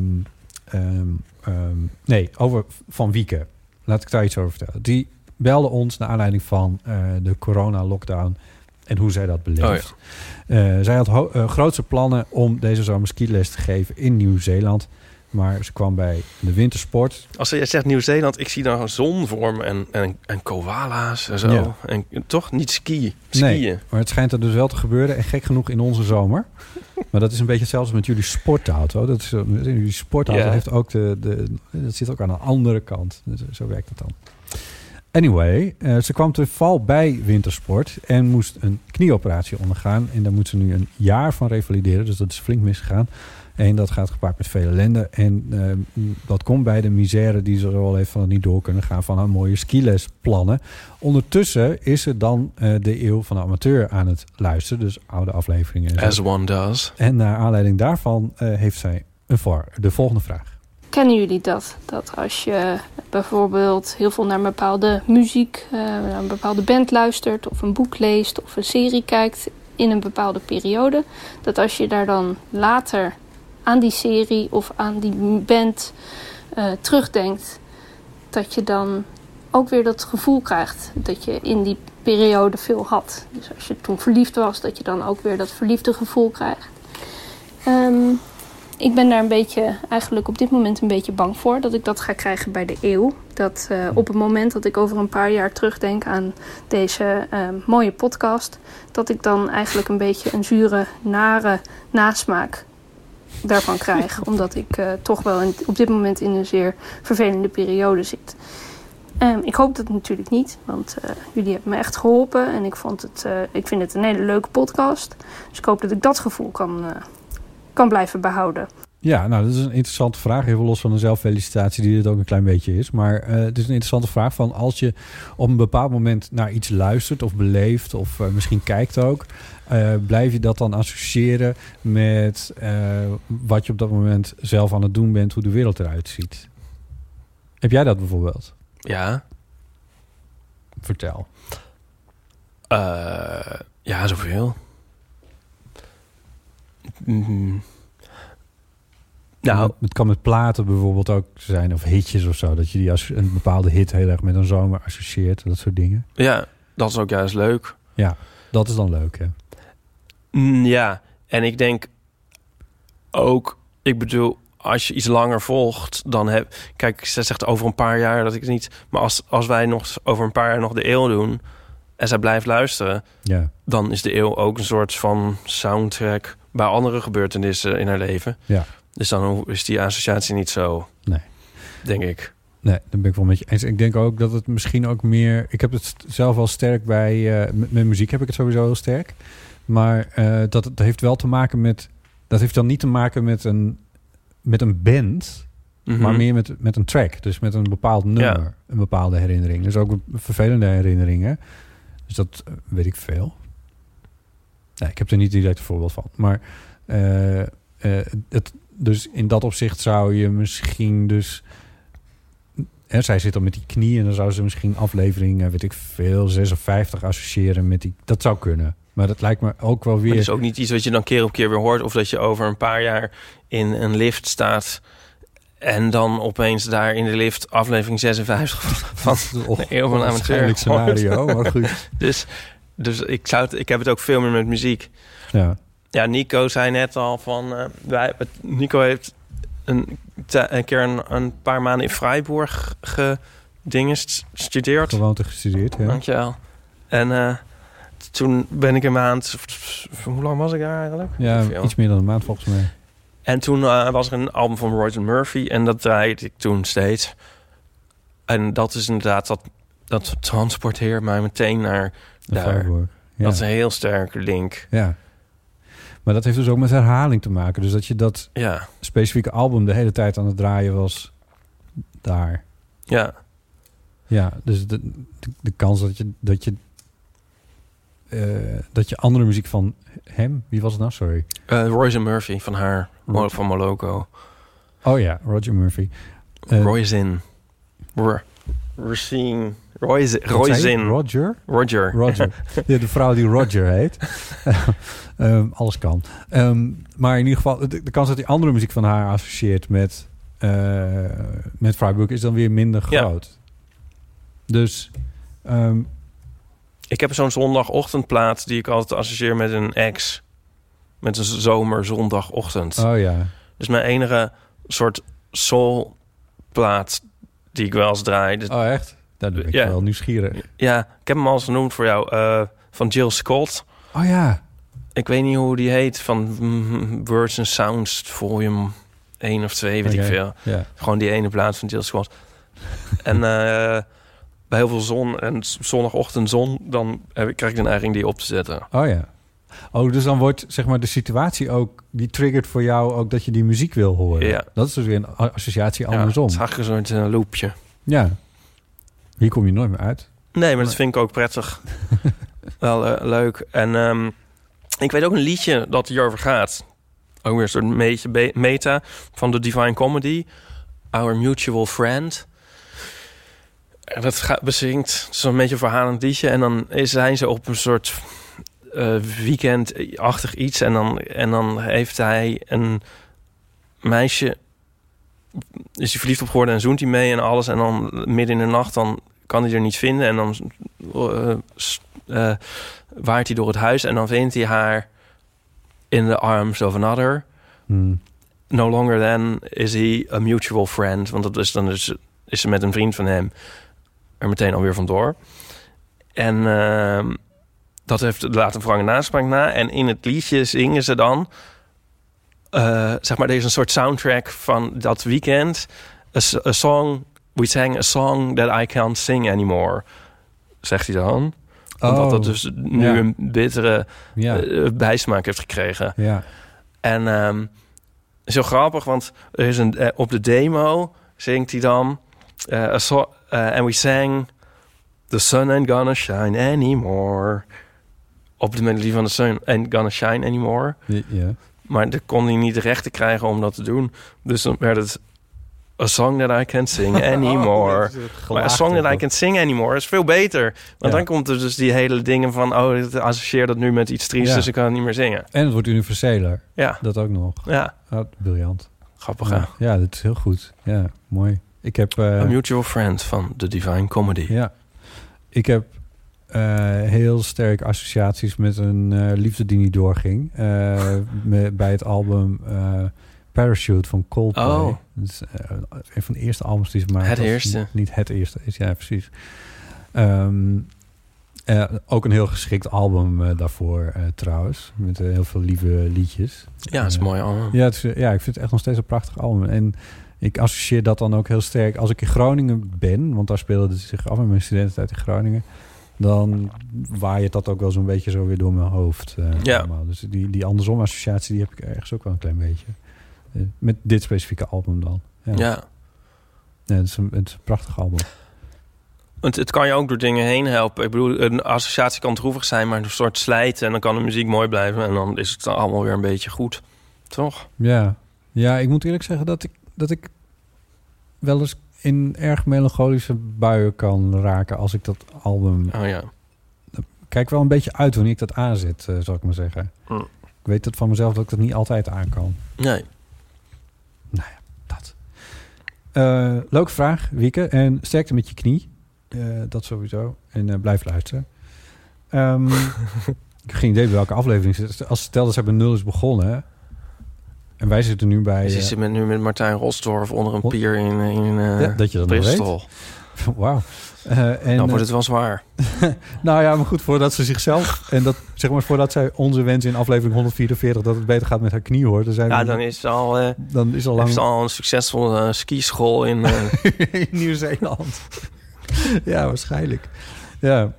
Speaker 3: ehm, ehm, nee, over Van Wieken. Laat ik daar iets over vertellen. Die belde ons naar aanleiding van eh, de corona-lockdown en hoe zij dat beleeft.
Speaker 4: Oh
Speaker 3: Eh, zij had ho- eh, grootse plannen om deze zomer skiles te geven in Nieuw-Zeeland. Maar ze kwam bij de wintersport.
Speaker 4: Als jij zegt Nieuw-Zeeland, ik zie dan een zon voor me en, en, en koala's en zo.
Speaker 3: Ja.
Speaker 4: En toch niet ski, skiën.
Speaker 3: Nee, maar het schijnt er dus wel te gebeuren. En gek genoeg in onze zomer. Maar dat is een beetje hetzelfde als met jullie sportauto. Dat is, eh, jullie sportauto
Speaker 4: Ja.
Speaker 3: heeft ook de, de... Dat zit ook aan de andere kant. Dus Zo werkt het dan. Anyway, eh, ze kwam te val bij wintersport en moest een knieoperatie ondergaan. En daar moet ze nu een jaar van revalideren. Dus dat is flink misgegaan. En dat gaat gepaard met veel ellende. En eh, dat komt bij de misère die ze al heeft van het niet door kunnen gaan van haar mooie skilesplannen. Ondertussen is ze dan eh, de eeuw van de amateur aan het luisteren. Dus oude afleveringen. En,
Speaker 4: As
Speaker 3: zo.
Speaker 4: one does.
Speaker 3: en naar aanleiding daarvan eh, heeft zij een voor, de volgende vraag.
Speaker 7: Kennen jullie dat? Dat als je bijvoorbeeld heel veel naar een bepaalde muziek, eh, naar een bepaalde band luistert, of een boek leest, of een serie kijkt in een bepaalde periode, dat als je daar dan later aan die serie of aan die m- band eh, terugdenkt, dat je dan ook weer dat gevoel krijgt dat je in die periode veel had. Dus als je toen verliefd was, dat je dan ook weer dat verliefde gevoel krijgt. Ehm, ik ben daar een beetje, eigenlijk op dit moment een beetje bang voor dat ik dat ga krijgen bij de eeuw. Dat eh, op het moment dat ik over een paar jaar terugdenk aan deze eh, mooie podcast, dat ik dan eigenlijk een beetje een zure, nare nasmaak daarvan krijg. Omdat ik eh, toch wel in- op dit moment in een zeer vervelende periode zit. Ehm, ik hoop dat natuurlijk niet, want eh, jullie hebben me echt geholpen en ik, vond het, eh, ik vind het een hele leuke podcast. Dus ik hoop dat ik dat gevoel kan, eh, kan blijven behouden.
Speaker 3: Ja, nou, dat is een interessante vraag. Even los van de zelffelicitatie, die dit ook een klein beetje is. Maar eh, het is een interessante vraag van als je op een bepaald moment naar iets luistert of beleeft, of eh, misschien kijkt ook, eh, blijf je dat dan associëren met eh, wat je op dat moment zelf aan het doen bent, hoe de wereld eruit ziet? Heb jij dat bijvoorbeeld?
Speaker 4: Ja.
Speaker 3: Vertel.
Speaker 4: Eh, ja, zoveel.
Speaker 3: Mm-hmm.
Speaker 4: Mm. Nou,
Speaker 3: Het kan met platen bijvoorbeeld ook zijn, of hitjes of zo. Dat je die als een bepaalde hit heel erg met een zomer associeert, dat soort dingen.
Speaker 4: ja, dat is ook juist leuk.
Speaker 3: Dat is dan leuk, hè?
Speaker 4: Mm, ja, en ik denk ook, ik bedoel, als je iets langer volgt, dan heb. Kijk, zij zegt over een paar jaar dat ik het niet. Maar als, als wij nog over een paar jaar nog de eeuw doen en zij blijft luisteren,
Speaker 3: Ja.
Speaker 4: dan is de eeuw ook een soort van soundtrack bij andere gebeurtenissen in haar leven.
Speaker 3: Ja.
Speaker 4: Dus dan is die associatie niet zo.
Speaker 3: Nee.
Speaker 4: Denk ik.
Speaker 3: Nee, daar ben ik wel met je eens. Ik denk ook dat het misschien ook meer... Ik heb het st- zelf wel sterk bij... eh, met, met muziek heb ik het sowieso heel sterk. Maar eh, dat, dat heeft wel te maken met... Dat heeft dan niet te maken met een, met een band... maar
Speaker 4: Mhm.
Speaker 3: meer met, met een track. Dus met een bepaald nummer.
Speaker 4: Ja.
Speaker 3: Een bepaalde herinnering. Dus ook een vervelende herinneringen. Dus dat eh, weet ik veel. Nee, ik heb er niet direct een voorbeeld van. Maar eh, eh, het, dus in dat opzicht zou je misschien dus... Hè, zij zit dan met die knie en dan zou ze misschien aflevering, eh, weet ik veel, 56 associëren met die... Dat zou kunnen. Maar dat lijkt me ook wel
Speaker 4: Maar
Speaker 3: weer...
Speaker 4: het is ook niet iets wat je dan keer op keer weer hoort. Of dat je over een paar jaar in een lift staat. En dan opeens daar in de lift aflevering 56
Speaker 3: (laughs)
Speaker 4: van de Eeuw van de Amateur.
Speaker 3: Waarschijnlijk scenario, maar goed.
Speaker 4: hoort. (laughs) Dus, dus ik, zou het, ik heb het ook veel meer met muziek.
Speaker 3: Ja.
Speaker 4: Ja, Nico zei net al van... eh, wij, het- Nico heeft een, te- een keer een, een paar maanden in Freiburg gedingest, gestudeerd.
Speaker 3: Gewoonte gestudeerd, ja.
Speaker 4: Dankjewel. En eh, toen ben ik een maand... Hoe lang was ik daar eigenlijk? Weet ik
Speaker 3: Ja,
Speaker 4: veel.
Speaker 3: iets meer dan een maand volgens mij.
Speaker 4: En toen eh, was er een album van Royce Murphy en dat draaide ik toen steeds. En dat is inderdaad, dat, dat transporteert mij meteen naar
Speaker 3: De
Speaker 4: daar.
Speaker 3: Freiburg. Ja.
Speaker 4: Dat is een heel sterke link.
Speaker 3: ja. Maar dat heeft dus ook met herhaling te maken. Dus dat je dat
Speaker 4: Ja,
Speaker 3: specifieke album de hele tijd aan het draaien was daar.
Speaker 4: ja.
Speaker 3: Ja, dus de, de, de kans dat je, dat je eh, dat je andere muziek van hem... Wie was het nou? Sorry.
Speaker 4: Eh, Royce en Murphy van haar, Mo-
Speaker 3: Roger.
Speaker 4: van Moloko.
Speaker 3: Oh ja, Roger Murphy. Eh,
Speaker 4: Royce in. R- Racine. Royce,
Speaker 3: wat zei je?
Speaker 4: Royce in.
Speaker 3: Roger?
Speaker 4: Roger.
Speaker 3: Roger. ja, de vrouw die Roger (laughs) heet. Ehm, alles kan. Ehm, maar in ieder geval, de, de kans dat hij andere muziek van haar associeert met, eh met Freiburg is dan weer minder
Speaker 4: Ja.
Speaker 3: groot. Dus ehm,
Speaker 4: Ik heb zo'n zondagochtendplaat die ik altijd associeer met een ex. Met een zomerzondagochtend.
Speaker 3: Oh ja.
Speaker 4: Dus mijn enige soort soulplaat die ik wel eens draai. Dus-
Speaker 3: Oh echt? Daar ben ik
Speaker 4: Ja.
Speaker 3: wel nieuwsgierig.
Speaker 4: ja, ik heb hem al eens genoemd voor jou. eh, van Jill Scott.
Speaker 3: Oh ja.
Speaker 4: Ik weet niet hoe die heet. Van mm, Words and Sounds Volume 1 of 2, weet
Speaker 3: Oké.
Speaker 4: ik veel.
Speaker 3: Ja.
Speaker 4: Gewoon die ene plaat van Jill Scott. en eh, bij heel veel zon en z- zondagochtendzon... dan heb ik, krijg ik de neiging die op te zetten.
Speaker 3: Oh ja. Oh, dus dan wordt zeg maar de situatie ook... die triggert voor jou ook dat je die muziek wil horen.
Speaker 4: Ja.
Speaker 3: Dat is dus weer een a- associatie
Speaker 4: Ja,
Speaker 3: andersom.
Speaker 4: het is eigenlijk een soort eh, loopje.
Speaker 3: ja. Hier kom je nooit meer uit.
Speaker 4: Nee, maar dat vind ik ook prettig. Wel eh, leuk. En ehm, ik weet ook een liedje dat hierover gaat. Ook weer een soort beetje be- meta van de Divine Comedy. Our Mutual Friend. En dat gaat bezinkt. Het is een beetje een verhalend liedje. En dan is, zijn ze op een soort eh, weekendachtig iets. En dan, en dan heeft hij een meisje... Is hij verliefd op geworden en zoent hij mee en alles. En dan midden in de nacht dan kan hij er niet vinden. En dan eh, s- eh, waait hij door het huis en dan vindt hij haar in the arms of another.
Speaker 3: Hmm.
Speaker 4: No longer then is he a mutual friend. Want dat is dan dus, is ze met een vriend van hem er meteen alweer vandoor. En ehm, dat heeft laat een wrange naspraak na. En in het liedje zingen ze dan... eh, zeg maar, er is een soort soundtrack van dat weekend. A, s- a song... We sang a song that I can't sing anymore. Zegt hij dan. Omdat dat dus nu
Speaker 3: Oh. ja.
Speaker 4: een bittere
Speaker 3: Ja.
Speaker 4: eh, bijsmaak heeft gekregen.
Speaker 3: ja.
Speaker 4: En ehm, zo grappig, want er is een, eh, op de demo zingt hij dan... eh, a so- eh, and we sang... The sun ain't gonna shine anymore. Op de melodie van The sun ain't gonna shine anymore.
Speaker 3: Ja. ja.
Speaker 4: Maar dat kon hij niet de rechten krijgen om dat te doen. Dus dan werd het... A song that I can't
Speaker 3: (laughs)
Speaker 4: sing
Speaker 3: Oh,
Speaker 4: anymore. Maar A Song That I Can Sing Anymore is veel beter. Want
Speaker 3: Ja.
Speaker 4: dan komt er dus die hele dingen van... oh, ik associeer dat nu met iets triest,
Speaker 3: Ja.
Speaker 4: dus ik kan het niet meer zingen.
Speaker 3: En het wordt universeler.
Speaker 4: Ja,
Speaker 3: Dat ook nog.
Speaker 4: ja.
Speaker 3: Ah, briljant.
Speaker 4: grappig hè?
Speaker 3: Ja. ja, dat is heel goed. Ja, mooi. Ik heb... eh,
Speaker 4: A Mutual Friend van The Divine Comedy.
Speaker 3: Ja. Ik heb eh, heel sterk associaties met een eh, liefde die niet doorging.
Speaker 4: (laughs)
Speaker 3: Eh, me- bij het album eh, Parachute van Coldplay.
Speaker 4: Oh.
Speaker 3: Dat is eh, een van de eerste albums die ze maakten.
Speaker 4: Het
Speaker 3: Als
Speaker 4: eerste.
Speaker 3: Niet, niet het eerste is, ja precies. Ehm, eh, ook een heel geschikt album eh, daarvoor eh, trouwens. Met eh, heel veel lieve liedjes.
Speaker 4: Ja, dat is
Speaker 3: Eh,
Speaker 4: mooi oh. allemaal.
Speaker 3: ja, het is, eh, ja, ik vind het echt nog steeds een prachtig album. En ik associeer dat dan ook heel sterk. Als ik in Groningen ben, want daar speelde het zich af in mijn studententijd in Groningen. Dan waait dat ook wel zo'n beetje zo weer door mijn hoofd. eh,
Speaker 4: Ja.
Speaker 3: allemaal. Dus die, die andersom associatie die heb ik ergens ook wel een klein beetje. Eh, met dit specifieke album dan. Ja,
Speaker 4: Ja.
Speaker 3: Ja, het, is een, het is een prachtig album.
Speaker 4: Want het kan je ook door dingen heen helpen. Ik bedoel, een associatie kan droevig zijn, maar een soort slijten... en dan kan de muziek mooi blijven en dan is het allemaal weer een beetje goed. Toch?
Speaker 3: Ja. ja, ik moet eerlijk zeggen dat ik, dat ik wel eens in erg melancholische buien kan raken als ik dat album
Speaker 4: Oh ja.
Speaker 3: kijk wel een beetje uit wanneer ik dat aanzet, eh, zal ik maar zeggen.
Speaker 4: Mm.
Speaker 3: Ik weet dat van mezelf dat ik dat niet altijd aan kan.
Speaker 4: Nee.
Speaker 3: Dat. Eh, leuke vraag, Wieke. En sterkte met je knie. Eh, dat sowieso. En eh, blijf luisteren.
Speaker 4: (laughs)
Speaker 3: Ehm, ik heb geen idee bij welke aflevering ze zit. Als stel dat zij bij nul is begonnen. En wij zitten nu bij...
Speaker 4: Dus je
Speaker 3: eh,
Speaker 4: zit met, nu met Martijn Rosdorf onder een
Speaker 3: Hol-
Speaker 4: pier in, in eh,
Speaker 3: ja, dat je dat nog weet.
Speaker 4: Bristol.
Speaker 3: (laughs)
Speaker 4: Nou,
Speaker 3: Wauw. Eh, en,
Speaker 4: Dan wordt het wel zwaar.
Speaker 3: eh, nou ja, maar goed, voordat ze zichzelf... En dat, zeg maar, voordat zij onze wens in aflevering 144... dat het beter gaat met haar knie hoort... Dan, zijn
Speaker 4: Ja,
Speaker 3: we,
Speaker 4: dan is het al... eh,
Speaker 3: dan is al lang...
Speaker 4: Heeft al een succesvolle eh, skischool
Speaker 3: (laughs)
Speaker 4: in. eh,
Speaker 3: in Nieuw-Zeeland. ja, waarschijnlijk. Ja.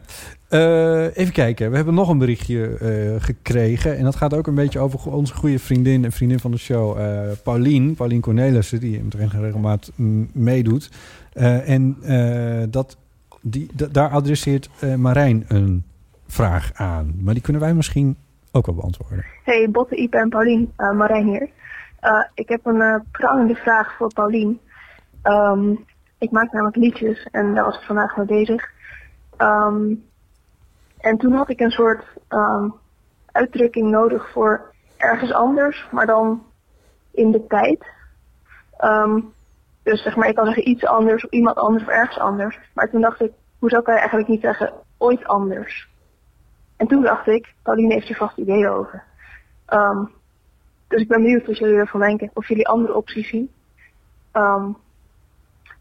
Speaker 3: Eh, even kijken. We hebben nog een berichtje eh, gekregen. En dat gaat ook een beetje over go- onze goede vriendin en vriendin van de show, eh Paulien. Paulien Cornelissen, die hem toch regelmaat mm, meedoet. Eh, en eh, dat, die, da- daar adresseert eh, Marijn een vraag aan. Maar die kunnen wij misschien ook wel beantwoorden.
Speaker 8: Hey, Botte, Ipe en Paulien. eh Marijn hier. Eh, ik heb een eh, prangende vraag voor Paulien. Ehm, ik maak namelijk liedjes en daar was ik vandaag mee bezig. Ehm, en toen had ik een soort ehm, uitdrukking nodig voor ergens anders, maar dan in de tijd. Ehm, dus zeg maar, ik kan zeggen iets anders of iemand anders of ergens anders. Maar toen dacht ik, hoezo kan je eigenlijk niet zeggen ooit anders? En toen dacht ik, Pauline heeft er vast ideeën over. Ehm, dus ik ben benieuwd wat jullie ervan denken. Of jullie andere opties zien. Ehm,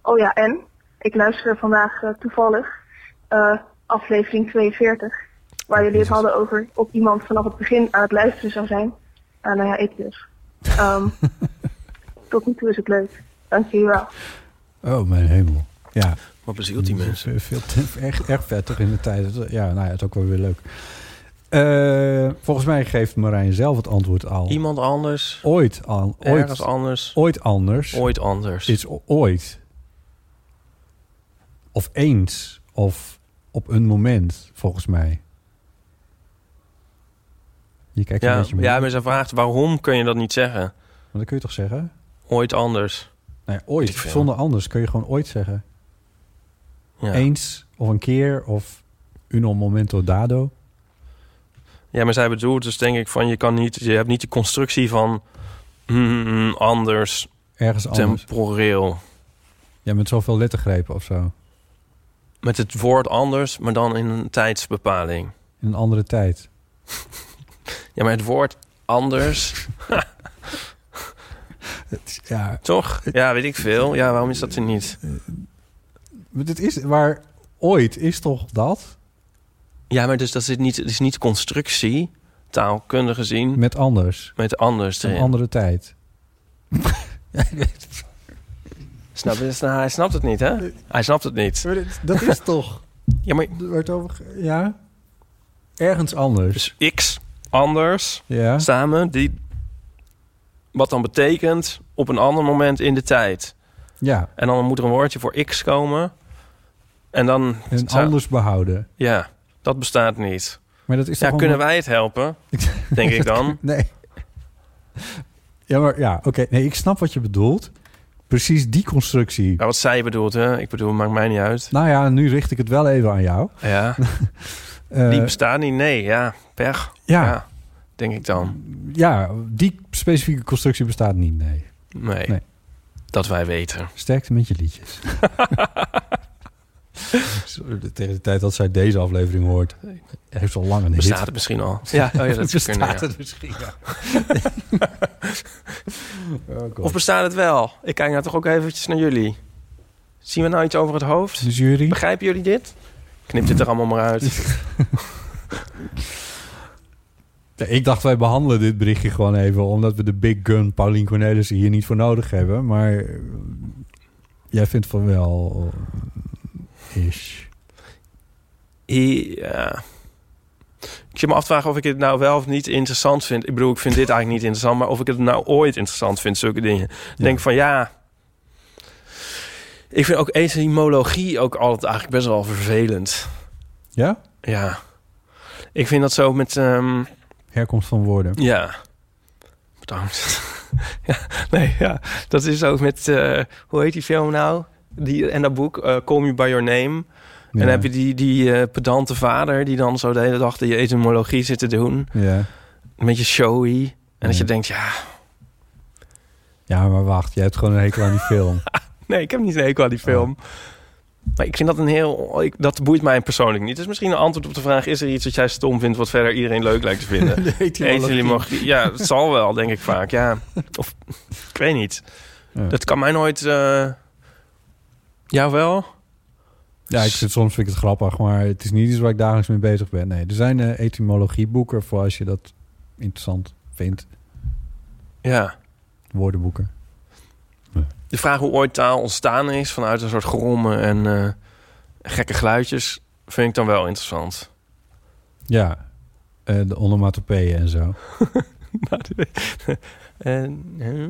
Speaker 8: oh ja, en ik luister vandaag eh, toevallig eh, aflevering 42. Waar jullie het hadden over of iemand vanaf het begin aan het luisteren zou zijn. Ah, nou ja, ik dus. Ehm, tot nu toe is het leuk. Dank jullie wel.
Speaker 3: Oh, mijn hemel. Ja.
Speaker 4: Wat bezielt die mensen?
Speaker 3: Dat is, eh, Veel te- erg, erg vettig in de tijd. Dat- Ja, nou ja, het is ook wel weer leuk. Eh, volgens mij geeft Marijn zelf het antwoord al.
Speaker 4: Iemand anders,
Speaker 3: Ooit, al,
Speaker 4: ergens
Speaker 3: ooit,
Speaker 4: anders,
Speaker 3: ooit anders
Speaker 4: ooit anders.
Speaker 3: is o- ooit. Of eens. Of op een moment, volgens mij. Je kijkt een
Speaker 4: Ja,
Speaker 3: beetje mee.
Speaker 4: ja, maar ze vraagt waarom kun je dat niet zeggen?
Speaker 3: Maar dat kun je toch zeggen?
Speaker 4: Ooit anders.
Speaker 3: Nou ja, ooit.
Speaker 4: Ik vind-
Speaker 3: Zonder anders kun je gewoon ooit zeggen.
Speaker 4: Ja.
Speaker 3: Eens of een keer of uno momento dado.
Speaker 4: Ja, maar zij bedoelt dus denk ik van je kan niet, je hebt niet de constructie van mm, anders,
Speaker 3: Ergens anders.
Speaker 4: temporeel.
Speaker 3: Ja, met zoveel lettergrepen of zo.
Speaker 4: Met het woord anders, maar dan in een tijdsbepaling.
Speaker 3: In een andere tijd.
Speaker 4: Ja, maar het woord
Speaker 3: (laughs)
Speaker 4: anders,
Speaker 3: Ja,
Speaker 4: toch? Ja, weet ik veel. Ja, waarom is dat er niet?
Speaker 3: maar dit is waar ooit is toch dat?
Speaker 4: Ja, maar dus dat is niet, het is niet constructie, taalkundig gezien,
Speaker 3: Met anders.
Speaker 4: met anders
Speaker 3: Een
Speaker 4: erin.
Speaker 3: andere tijd.
Speaker 4: Snap, je? Nou, hij snapt het niet, hè? Hij snapt het niet.
Speaker 3: Dat is toch.
Speaker 4: Ja, maar
Speaker 3: ja. Ergens anders.
Speaker 4: dus x, anders,
Speaker 3: Ja.
Speaker 4: samen, die... Wat dan betekent op een ander moment in de tijd.
Speaker 3: Ja.
Speaker 4: En dan moet er een woordje voor x komen. En dan...
Speaker 3: En
Speaker 4: zou-
Speaker 3: anders behouden.
Speaker 4: Ja, dat bestaat niet.
Speaker 3: Maar dat is
Speaker 4: Ja,
Speaker 3: toch
Speaker 4: kunnen
Speaker 3: allemaal-
Speaker 4: wij het helpen? Denk ik
Speaker 3: (laughs)
Speaker 4: dan.
Speaker 3: Nee. Ja, maar ja, oké. Nee, ik snap wat je bedoelt. Precies die constructie.
Speaker 4: Ja, wat zij bedoelt, hè? Ik bedoel, maakt mij niet uit.
Speaker 3: Nou ja, nu richt ik het wel even aan jou.
Speaker 4: Ja,
Speaker 3: Eh,
Speaker 4: die bestaat niet. Nee, ja, pech.
Speaker 3: ja, ja.
Speaker 4: ja, denk ik dan.
Speaker 3: die specifieke constructie bestaat niet, nee.
Speaker 4: Nee.
Speaker 3: Nee.
Speaker 4: Dat wij weten.
Speaker 3: Sterkte met je liedjes. (laughs) Sorry, Tegen de tijd dat zij deze aflevering hoort, heeft ze al lang een hit.
Speaker 4: Bestaat het misschien al? Ja,
Speaker 3: (laughs)
Speaker 4: oh ja dat zou
Speaker 3: bestaat
Speaker 4: kunnen, ja.
Speaker 3: het misschien, ja. Oh, God.
Speaker 4: Of bestaat het wel? Ik kijk nou toch ook eventjes naar jullie. Zien we nou iets over het hoofd?
Speaker 3: de jury.
Speaker 4: Begrijpen jullie dit? Knip dit er allemaal maar uit.
Speaker 3: Ja, Ik dacht, wij behandelen dit berichtje gewoon even... omdat we de big gun Paulien Cornelissen hier niet voor nodig hebben. Maar eh, jij vindt van wel... eh, Ish.
Speaker 4: Ja. Ik zit me af te vragen of ik het nou wel of niet interessant vind. Ik bedoel, ik vind dit eigenlijk niet interessant, maar of ik het nou ooit interessant vind, zulke dingen. Ik Denk van ja. Ik vind ook etymologie ook altijd eigenlijk best wel vervelend.
Speaker 3: Ja?
Speaker 4: Ja. Ik vind dat zo met. ehm,
Speaker 3: Herkomst van woorden.
Speaker 4: Ja. Bedankt. (laughs) ja, nee, ja. Dat is ook met... eh, hoe heet die film nou? Die, en dat boek, eh, Call Me By Your Name. En
Speaker 3: Ja.
Speaker 4: dan heb je die, die eh, pedante vader... die dan zo de hele dag de etymologie zit te doen.
Speaker 3: Ja.
Speaker 4: Een beetje showy. En dat
Speaker 3: Ja.
Speaker 4: je denkt, ja...
Speaker 3: ja, maar wacht. Je hebt gewoon een hekel aan die
Speaker 4: (laughs)
Speaker 3: film.
Speaker 4: Nee, ik heb niet een hekel aan die film. Maar ik vind dat een heel... Ik, dat boeit mij persoonlijk niet. Dus misschien een antwoord op de vraag... is er iets wat jij stom vindt... wat verder iedereen leuk lijkt te
Speaker 3: (laughs)
Speaker 4: vinden? Etymologie. Ja, dat zal wel, denk ik vaak. Ja. Of, ik weet niet.
Speaker 3: Ja.
Speaker 4: Dat kan mij nooit... eh jou wel?
Speaker 3: Ja, ik zit, soms vind ik het grappig, maar het is niet iets waar ik dagelijks mee bezig ben. Nee, er zijn eh, etymologieboeken voor als je dat interessant vindt.
Speaker 4: Ja.
Speaker 3: Woordenboeken.
Speaker 4: De vraag hoe ooit taal ontstaan is... vanuit een soort grommen en eh, gekke geluidjes... vind ik dan wel (laughs) interessant.
Speaker 3: Ja, Eh, de onomatopeeën en zo.
Speaker 4: (laughs) En, eh,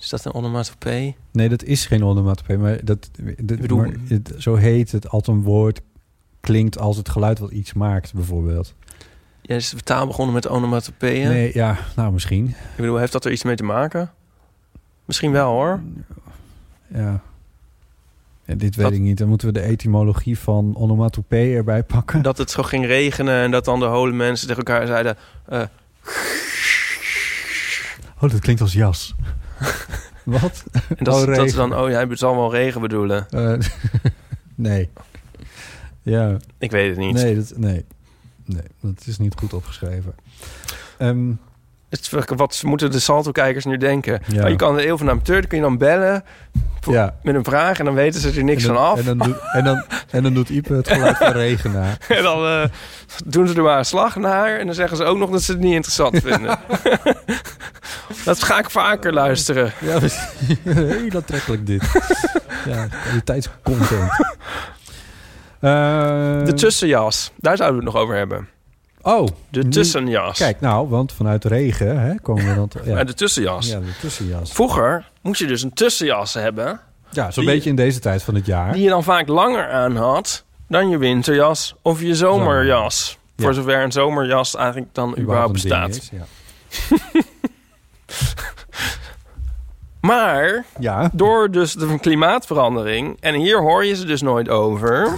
Speaker 4: is dat een onomatopee?
Speaker 3: Nee, dat is geen onomatopee, maar dat, dat
Speaker 4: bedoel-
Speaker 3: maar het- zo heet het als een woord klinkt als het geluid wat iets maakt, bijvoorbeeld.
Speaker 4: Jij is de taal begonnen met onomatopeeën.
Speaker 3: Nee, ja, nou misschien.
Speaker 4: Ik bedoel, heeft dat er iets mee te maken? Misschien wel hoor.
Speaker 3: Ja. Ja, dit weet
Speaker 4: Dat-
Speaker 3: ik niet. Dan moeten we de etymologie van onomatopee erbij pakken.
Speaker 4: Dat het zo ging regenen en dat dan de hole mensen tegen elkaar
Speaker 3: (laughs)
Speaker 4: zeiden... eh,
Speaker 3: Oh, dat klinkt als
Speaker 4: (laughs)
Speaker 3: jas. Wat?
Speaker 4: en dat,
Speaker 3: Oh,
Speaker 4: ze- dat ze
Speaker 3: regen.
Speaker 4: dan, oh ja, het zal wel regen bedoelen.
Speaker 3: Eh, (laughs) nee. Ja,
Speaker 4: Ik weet het niet.
Speaker 3: nee dat, nee. Nee, dat is niet goed opgeschreven. Ehm,
Speaker 4: Het is- wat moeten de Salto-kijkers nu denken?
Speaker 3: Ja.
Speaker 4: Oh, je kan de eeuw van de amateur, dan kun je dan bellen Voor-
Speaker 3: ja.
Speaker 4: met een vraag... en dan weten ze er niks
Speaker 3: en dan,
Speaker 4: van af.
Speaker 3: En dan, doet, en, dan, en dan doet Ipe het geluid van regen
Speaker 4: (laughs)
Speaker 3: na.
Speaker 4: En dan eh, doen ze er maar een slag naar. En dan zeggen ze ook nog dat ze het niet
Speaker 3: (laughs)
Speaker 4: interessant vinden. (laughs) dat ga ik vaker luisteren.
Speaker 3: Ja, precies. (laughs) heel aantrekkelijk dit. ja, kwaliteitscontent. Eh,
Speaker 4: De tussenjas. Daar zouden we het nog over hebben.
Speaker 3: Oh,
Speaker 4: De
Speaker 3: nu-
Speaker 4: tussenjas.
Speaker 3: Kijk, nou, want vanuit regen hè, komen we dan... t- Ja,
Speaker 4: Maar de tussenjas.
Speaker 3: ja, de tussenjas.
Speaker 4: Vroeger moest je dus een tussenjas hebben.
Speaker 3: Ja, zo'n
Speaker 4: Die-
Speaker 3: beetje in deze tijd van het jaar.
Speaker 4: Die je dan vaak langer aan had dan je winterjas of je zomerjas.
Speaker 3: Ja.
Speaker 4: Voor zover een zomerjas eigenlijk dan überhaupt
Speaker 3: een ding
Speaker 4: bestaat.
Speaker 3: is, Ja.
Speaker 4: Maar
Speaker 3: ja,
Speaker 4: door dus de klimaatverandering, en hier hoor je ze dus nooit
Speaker 3: (laughs)
Speaker 4: over,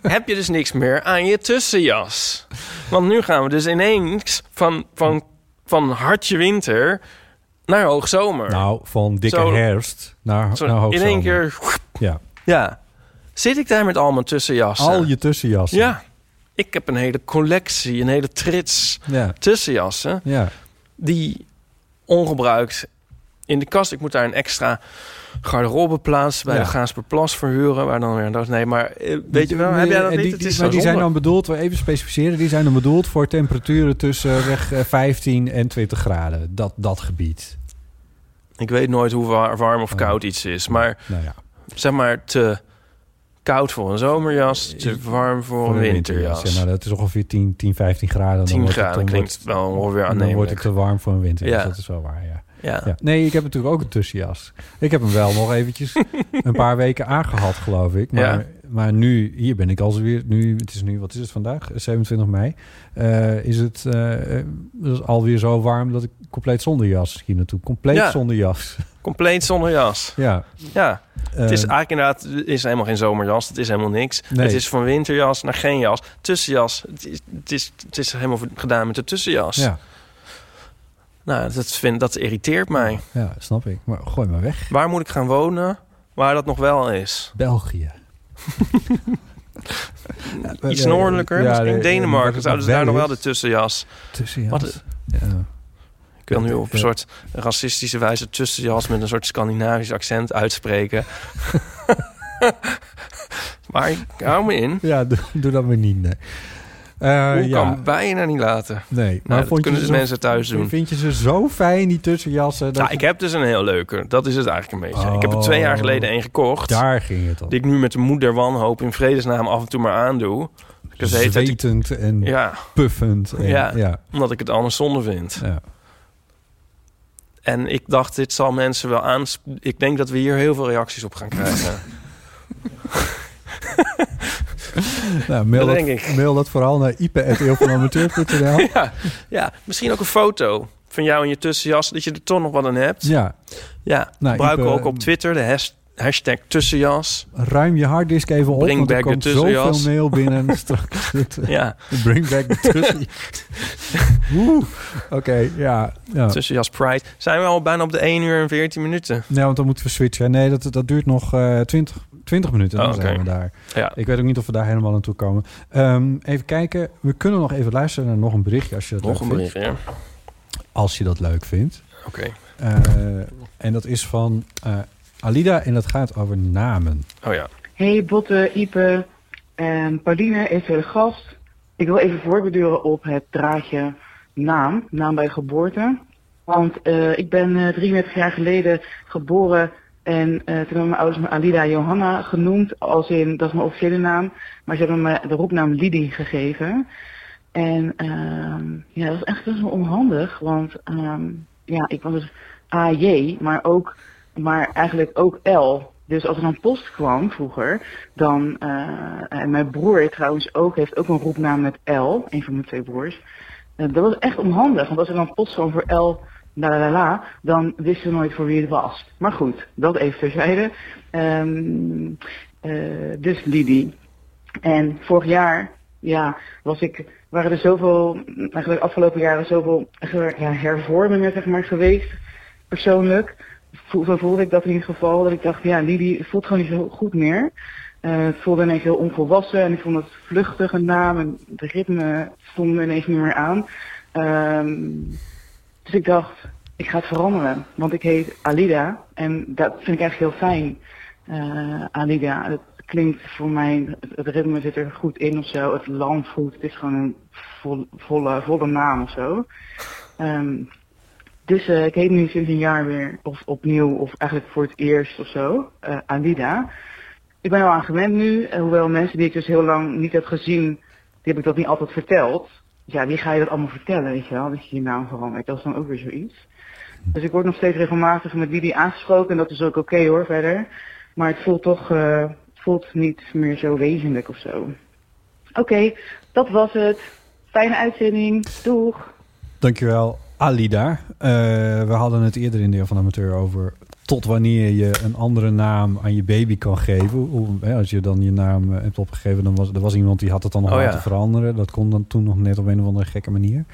Speaker 4: heb je dus niks meer aan je tussenjas. Want nu gaan we dus ineens van, van, van hartje winter naar hoogzomer.
Speaker 3: nou, van dikke
Speaker 4: Zo-
Speaker 3: herfst naar,
Speaker 4: Zo
Speaker 3: naar
Speaker 4: in
Speaker 3: hoogzomer.
Speaker 4: één keer,
Speaker 3: Ja.
Speaker 4: ja, zit ik daar met al mijn tussenjassen.
Speaker 3: Al je tussenjassen.
Speaker 4: Ja, ik heb een hele collectie, een hele trits
Speaker 3: Ja.
Speaker 4: tussenjassen
Speaker 3: Ja.
Speaker 4: die ongebruikt in de kast. Ik moet daar een extra garderobe plaatsen bij
Speaker 3: Ja.
Speaker 4: de Gaasperplas verhuren. Waar dan weer dat. Nee, maar eh, weet je wel,
Speaker 3: Nee,
Speaker 4: heb jij dat
Speaker 3: en
Speaker 4: niet?
Speaker 3: Die,
Speaker 4: het
Speaker 3: die-
Speaker 4: is
Speaker 3: maar
Speaker 4: zo
Speaker 3: die zijn
Speaker 4: zonde.
Speaker 3: dan bedoeld, we even specificeren, die zijn dan bedoeld voor temperaturen tussen eh, weg eh, 15 en 20 graden. Dat, dat gebied.
Speaker 4: Ik weet nooit hoe wa- warm of
Speaker 3: Oh.
Speaker 4: koud iets is. Dus Maar
Speaker 3: Nou ja,
Speaker 4: zeg maar te koud voor een
Speaker 3: Eh,
Speaker 4: zomerjas, te warm voor een winterjas.
Speaker 3: Ja, nou, dat is ongeveer 10, 10 15 graden.
Speaker 4: 10
Speaker 3: wordt het-
Speaker 4: graden
Speaker 3: wordt-
Speaker 4: klinkt wel ongeveer
Speaker 3: dan wordt
Speaker 4: aannemelijk.
Speaker 3: het te warm voor een winterjas.
Speaker 4: Ja.
Speaker 3: Dat is wel waar, ja.
Speaker 4: Ja.
Speaker 3: Ja. Nee, ik heb natuurlijk ook een tussenjas. Ik heb hem wel nog eventjes een
Speaker 4: (laughs)
Speaker 3: paar weken aangehad, geloof ik. Maar,
Speaker 4: Ja.
Speaker 3: maar nu, hier ben ik alweer. Nu, het is nu, wat is het vandaag? 27 mei. Eh, is het eh, eh, dus alweer zo warm dat ik compleet zonder jas hier naartoe. Compleet
Speaker 4: Ja.
Speaker 3: zonder jas.
Speaker 4: Compleet zonder jas.
Speaker 3: ja.
Speaker 4: (laughs) Ja.
Speaker 3: Eh,
Speaker 4: Het is eigenlijk inderdaad het is helemaal geen zomerjas. Het is helemaal niks.
Speaker 3: Nee.
Speaker 4: Het is van winterjas naar geen jas. Tussenjas. Het is, het is, het is helemaal gedaan met de tussenjas.
Speaker 3: ja,
Speaker 4: Nou, dat, vind, dat irriteert mij.
Speaker 3: ja, snap ik. Maar gooi maar weg.
Speaker 4: Waar moet ik gaan wonen waar dat nog wel is?
Speaker 3: België.
Speaker 4: Iets noordelijker,
Speaker 3: Ja,
Speaker 4: misschien
Speaker 3: nee,
Speaker 4: Denemarken.
Speaker 3: wat
Speaker 4: Zouden ze
Speaker 3: het
Speaker 4: daar nog wel
Speaker 3: is,
Speaker 4: de tussenjas?
Speaker 3: tussenjas.
Speaker 4: Wat-
Speaker 3: Ja.
Speaker 4: Ik wil nu op een
Speaker 3: Ja.
Speaker 4: soort racistische wijze tussenjas met een soort Scandinavisch accent
Speaker 3: (laughs)
Speaker 4: uitspreken. (laughs) maar ik hou me in.
Speaker 3: Ja, (laughs) doe, doe dat maar niet. Nee. Eh, ja.
Speaker 4: Hoe kan het bijna niet laten?
Speaker 3: Nee, maar
Speaker 4: Nou, dat
Speaker 3: vond
Speaker 4: kunnen
Speaker 3: je
Speaker 4: dus
Speaker 3: zo-
Speaker 4: mensen thuis doen.
Speaker 3: Vind je ze zo fijn, die tussenjassen? Dat Oh.
Speaker 4: Nou, ik heb dus een heel leuke. Dat is het eigenlijk een beetje. Ik heb er twee jaar geleden één gekocht.
Speaker 3: Daar ging het om.
Speaker 4: Die ik nu met de moeder wanhoop in vredesnaam af en toe maar aandoe. Dus heet dat ik-
Speaker 3: Zwetend en
Speaker 4: ja,
Speaker 3: puffend. En, ja.
Speaker 4: Ja.
Speaker 3: Ja,
Speaker 4: omdat ik het anders zonde vind.
Speaker 3: ja.
Speaker 4: En ik dacht, dit zal mensen wel aans... Ik denk dat we hier heel veel reacties op gaan krijgen.
Speaker 3: (laughs) Nou, mail,
Speaker 4: Dat
Speaker 3: dat,
Speaker 4: denk ik.
Speaker 3: mail dat vooral naar
Speaker 4: (laughs)
Speaker 3: ipe.eeuwvanamateur.nl.
Speaker 4: ja, ja, misschien ook een foto van jou in je tussenjas... dat je er toch nog wat aan hebt.
Speaker 3: ja,
Speaker 4: Ja,
Speaker 3: Nou,
Speaker 4: gebruik
Speaker 3: Ipe,
Speaker 4: ook op Twitter de has- hashtag tussenjas.
Speaker 3: ruim je harddisk even op,
Speaker 4: Bring
Speaker 3: want er
Speaker 4: back de
Speaker 3: komt
Speaker 4: tussenjas.
Speaker 3: zoveel mail
Speaker 4: (laughs)
Speaker 3: binnen straks. Het, eh,
Speaker 4: Ja,
Speaker 3: Bring back de tussenjas.
Speaker 4: (laughs)
Speaker 3: Oeh, Oké, ja. ja.
Speaker 4: tussenjas pride. Zijn we al bijna op de 1 uur en 14 minuten?
Speaker 3: Nee, want dan moeten we switchen. Nee, dat, dat duurt nog eh 20, 20 minuten. Dan
Speaker 4: Oh,
Speaker 3: zijn
Speaker 4: oké.
Speaker 3: we daar.
Speaker 4: Ja.
Speaker 3: Ik weet ook niet of we daar helemaal aan toe komen. Ehm, even kijken. We kunnen nog even luisteren naar nog een berichtje als je dat
Speaker 4: Nog
Speaker 3: leuk
Speaker 4: een
Speaker 3: vindt.
Speaker 4: bericht, ja. Oké.
Speaker 3: Als je dat leuk vindt. Eh, en dat is van eh, Alida en dat gaat over namen.
Speaker 4: Oh ja.
Speaker 8: Hey Botte, Ipe, en Pauline is de gast. Ik wil even voorbeduren op het draadje naam, naam bij geboorte. Want eh, ik ben eh, 33 jaar geleden geboren en eh, toen hebben mijn ouders me Alida Johanna genoemd, als in, dat is mijn officiële naam, maar ze hebben me de roepnaam Lidi gegeven. En ehm, ja, dat was echt best wel onhandig, want ehm, ja, ik was dus AJ, maar ook, maar eigenlijk ook L. Dus als er dan post kwam vroeger, dan, eh, en mijn broer trouwens ook, heeft ook een roepnaam met L, een van mijn twee broers. Eh, dat was echt onhandig, want als er dan post kwam voor L, la la la la, dan wisten we nooit voor wie het was. Maar goed, dat even terzijde. Ehm, eh, dus Lidie. En vorig jaar, ja, was ik, waren er zoveel, eigenlijk afgelopen jaren zoveel her- ja, hervormingen zeg maar, geweest, persoonlijk. Voel- Zo voelde ik dat in ieder geval, dat ik dacht, ja, Lili het voelt gewoon niet zo goed meer. Eh, het voelde ineens heel onvolwassen en ik vond het vluchtige naam en de ritme stond me ineens niet meer aan. Ehm, dus ik dacht, ik ga het veranderen, want ik heet Alida en dat vind ik eigenlijk heel fijn. Eh, Alida, het klinkt voor mij, het, het ritme zit er goed in of zo, het land goed, het is gewoon een vol- volle, volle naam of zo. Ehm, dus eh, ik heet nu sinds een jaar weer, of opnieuw, of eigenlijk voor het eerst of zo, eh Alida. Ik ben er wel aan gewend nu, eh, hoewel mensen die ik dus heel lang niet heb gezien, die heb ik dat niet altijd verteld. Dus ja, wie ga je dat allemaal vertellen, weet je wel, dat je je naam verandert. Dat is dan ook weer zoiets. Dus ik word nog steeds regelmatig met Didi aangesproken en dat is ook oké hoor, verder. Maar het voelt toch, eh, het voelt niet meer zo wezenlijk of zo. Oké, dat was het. Fijne uitzending. Doeg.
Speaker 3: Dankjewel, Alida. Eh we hadden het eerder in Deel van Amateur over tot wanneer je een andere naam aan je baby kan geven. Hoe- hè, als je dan je naam eh, hebt opgegeven, dan was er was iemand die had het dan nog
Speaker 4: Oh,
Speaker 3: laten
Speaker 4: ja.
Speaker 3: veranderen. Dat kon dan toen nog net op een of andere gekke manier.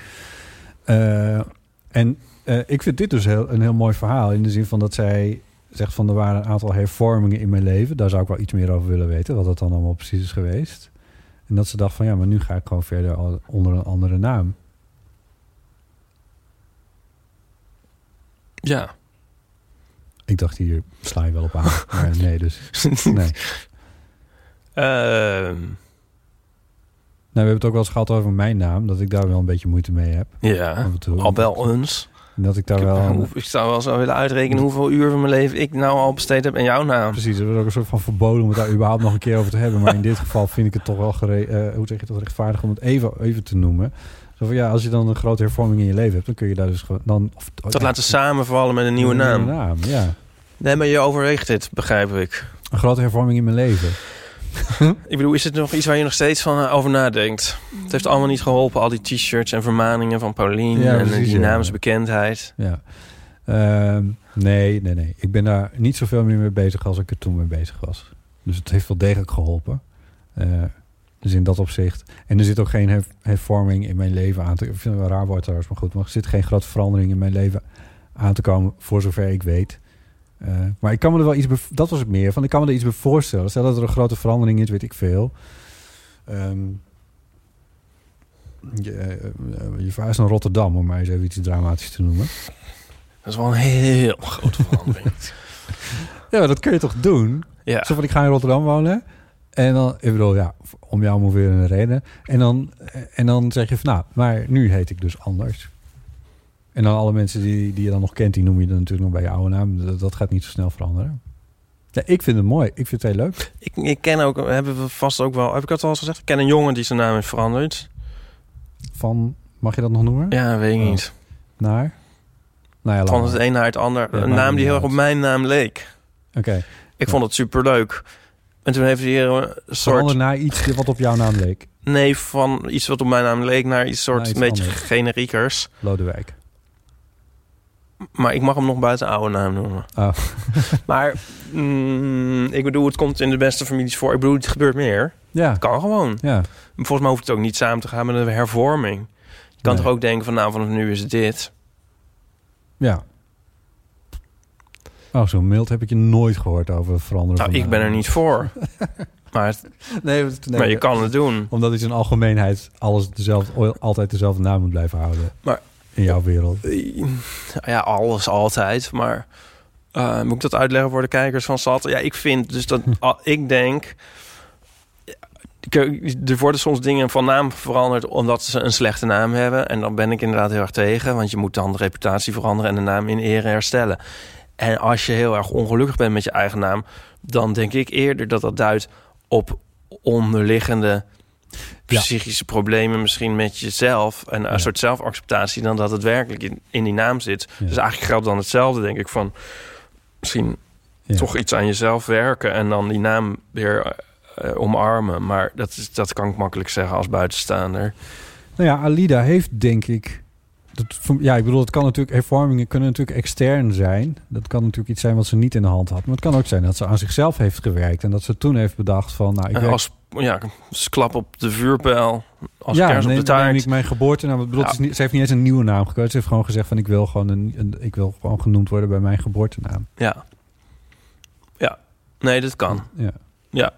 Speaker 3: Eh, en eh, ik vind dit dus heel, een heel mooi verhaal in de zin van dat zij zegt van er waren een aantal hervormingen in mijn leven. Daar zou ik wel iets meer over willen weten, wat dat dan allemaal precies is geweest. En dat ze dacht van ja, maar nu ga ik gewoon verder al- onder een andere naam.
Speaker 4: Ja.
Speaker 3: Ik dacht, hier sla je wel
Speaker 4: (laughs)
Speaker 3: op aan. Maar nee, dus. Nee. Nou,
Speaker 4: (laughs) Ehm,
Speaker 3: we hebben het ook wel eens gehad over mijn naam. Dat ik daar wel een beetje moeite mee heb.
Speaker 4: ja,
Speaker 3: Af en toe.
Speaker 4: al wel eens.
Speaker 3: En dat ik daar wel...
Speaker 4: Hoe- Ik zou wel zo willen uitrekenen hoeveel uur van mijn leven ik nou al besteed heb aan jouw naam.
Speaker 3: Precies, er wordt ook een soort van verboden om het daar überhaupt nog een keer over te hebben. Maar in dit geval vind ik het toch wel gere- eh, hoe zeg je dat, rechtvaardig om het even, even te noemen. Zo van, ja, als je dan een grote hervorming in je leven hebt, dan kun je daar dus gewoon... Dan, of,
Speaker 4: Dat laten samenvallen met een nieuwe naam.
Speaker 3: ja.
Speaker 4: Nee, maar je overweegt dit, begrijp ik.
Speaker 3: Een grote hervorming in mijn leven.
Speaker 4: Ik bedoel, is het nog iets waar je nog steeds van eh, over nadenkt? Het heeft allemaal niet geholpen, al die t-shirts en vermaningen van Paulien
Speaker 3: Ja,
Speaker 4: en
Speaker 3: precies, ja.
Speaker 4: die naamsbekendheid.
Speaker 3: Ja. Ehm, nee, nee, nee. Ik ben daar niet zoveel meer mee bezig als ik er toen mee bezig was. Dus het heeft wel degelijk geholpen. Eh, dus in dat opzicht. En er zit ook geen her- hervorming in mijn leven aan te Ik vind het wel een raar woord trouwens, maar goed. Maar er zit geen grote verandering in mijn leven aan te komen, voor zover ik weet. Eh, maar ik kan me er wel iets... bev- Dat was het meer van, ik kan me er iets bij voorstellen. Stel dat er een grote verandering is, weet ik veel. Ehm, je, eh, eh, je verhuist naar Rotterdam, om maar eens even iets dramatisch te noemen.
Speaker 4: Dat is wel een heel (laughs) grote verandering.
Speaker 3: Ja, maar dat kun je toch doen?
Speaker 4: Ja.
Speaker 3: Zo van, ik ga in Rotterdam wonen. En dan, ik bedoel, ja, om jou om weer een reden. En dan, en dan zeg je van, nou, maar nu heet ik dus anders. En dan alle mensen die, die je dan nog kent, die noem je dan natuurlijk nog bij je oude naam. Dat, dat gaat niet zo snel veranderen. Ja, ik vind het mooi. Ik vind het heel leuk.
Speaker 4: Ik, ik ken ook, hebben we vast ook wel, heb ik dat al eens gezegd? Ik ken een jongen die zijn naam heeft veranderd.
Speaker 3: Van, mag je dat nog noemen?
Speaker 4: Ja, weet ik
Speaker 3: Oh.
Speaker 4: niet.
Speaker 3: Naar? Nou ja, laat
Speaker 4: Van
Speaker 3: maar.
Speaker 4: het e- een naar het ander.
Speaker 3: Ja,
Speaker 4: een
Speaker 3: maar
Speaker 4: naam die heel erg op
Speaker 3: inderdaad.
Speaker 4: mijn naam leek.
Speaker 3: Oké.
Speaker 4: Ik
Speaker 3: Ja.
Speaker 4: vond het superleuk. En toen heeft hij hier een soort
Speaker 3: Verander naar iets wat op jouw naam leek.
Speaker 4: nee van iets wat op mijn naam leek naar iets soort
Speaker 3: Naar iets
Speaker 4: een beetje
Speaker 3: anders.
Speaker 4: generiekers.
Speaker 3: Lodewijk.
Speaker 4: Maar ik mag hem nog buiten oude naam noemen.
Speaker 3: Oh.
Speaker 4: (laughs) Maar mm, ik bedoel, het komt in de beste families voor. Ik bedoel, het gebeurt meer.
Speaker 3: Ja,
Speaker 4: Het kan gewoon.
Speaker 3: ja.
Speaker 4: Volgens mij hoeft het ook niet samen te gaan met een hervorming. Je kan
Speaker 3: Nee.
Speaker 4: toch ook denken van nou, vanaf nu is het dit.
Speaker 3: Ja. Oh, zo mild heb ik je nooit gehoord over veranderen.
Speaker 4: Nou,
Speaker 3: van
Speaker 4: ik ben er
Speaker 3: naam.
Speaker 4: niet
Speaker 3: (laughs)
Speaker 4: voor. Maar, het-
Speaker 3: Nee,
Speaker 4: maar je kan het doen.
Speaker 3: Omdat in zijn algemeenheid alles dezelfde, altijd dezelfde naam moet blijven houden.
Speaker 4: Maar-
Speaker 3: in jouw wereld.
Speaker 4: Eh, Ja, alles altijd. Maar eh, moet ik dat uitleggen voor de kijkers van Sat? Ja, ik vind
Speaker 3: (laughs)
Speaker 4: dus dat al- ik denk. ik- eh, Er worden soms dingen van naam veranderd omdat ze een slechte naam hebben. En dan ben ik inderdaad heel erg tegen. Want je moet dan de reputatie veranderen en de naam in ere herstellen. En als je heel erg ongelukkig bent met je eigen naam, dan denk ik eerder dat dat duidt op onderliggende
Speaker 3: Ja.
Speaker 4: psychische problemen misschien met jezelf en een
Speaker 3: Ja.
Speaker 4: soort zelfacceptatie dan dat het werkelijk in, in die naam zit.
Speaker 3: Ja.
Speaker 4: Dus eigenlijk geldt dan hetzelfde, denk ik, van misschien toch iets aan jezelf werken en dan die naam weer eh, omarmen. Maar dat, is, dat kan ik makkelijk zeggen als buitenstaander.
Speaker 3: Nou ja, Alida heeft denk ik. Dat, ja, ik bedoel, het kan natuurlijk. Hervormingen kunnen natuurlijk extern zijn. Dat kan natuurlijk iets zijn wat ze niet in de hand had. Maar het kan ook zijn dat ze aan zichzelf heeft gewerkt. En dat ze toen heeft bedacht van. Nou, ik
Speaker 4: En
Speaker 3: werk-
Speaker 4: als, ja, als klap op de vuurpijl, als
Speaker 3: ja,
Speaker 4: kers op
Speaker 3: neem,
Speaker 4: de
Speaker 3: neem
Speaker 4: taart.
Speaker 3: ik mijn geboortenaam. Ik bedoel, het is niet, ze heeft niet eens een nieuwe naam gekozen. Ze heeft gewoon gezegd van ik wil gewoon, een, een- ik wil gewoon genoemd worden bij mijn geboortenaam.
Speaker 4: Ja. Ja. Nee, dat kan.
Speaker 3: Ja.
Speaker 4: Ja.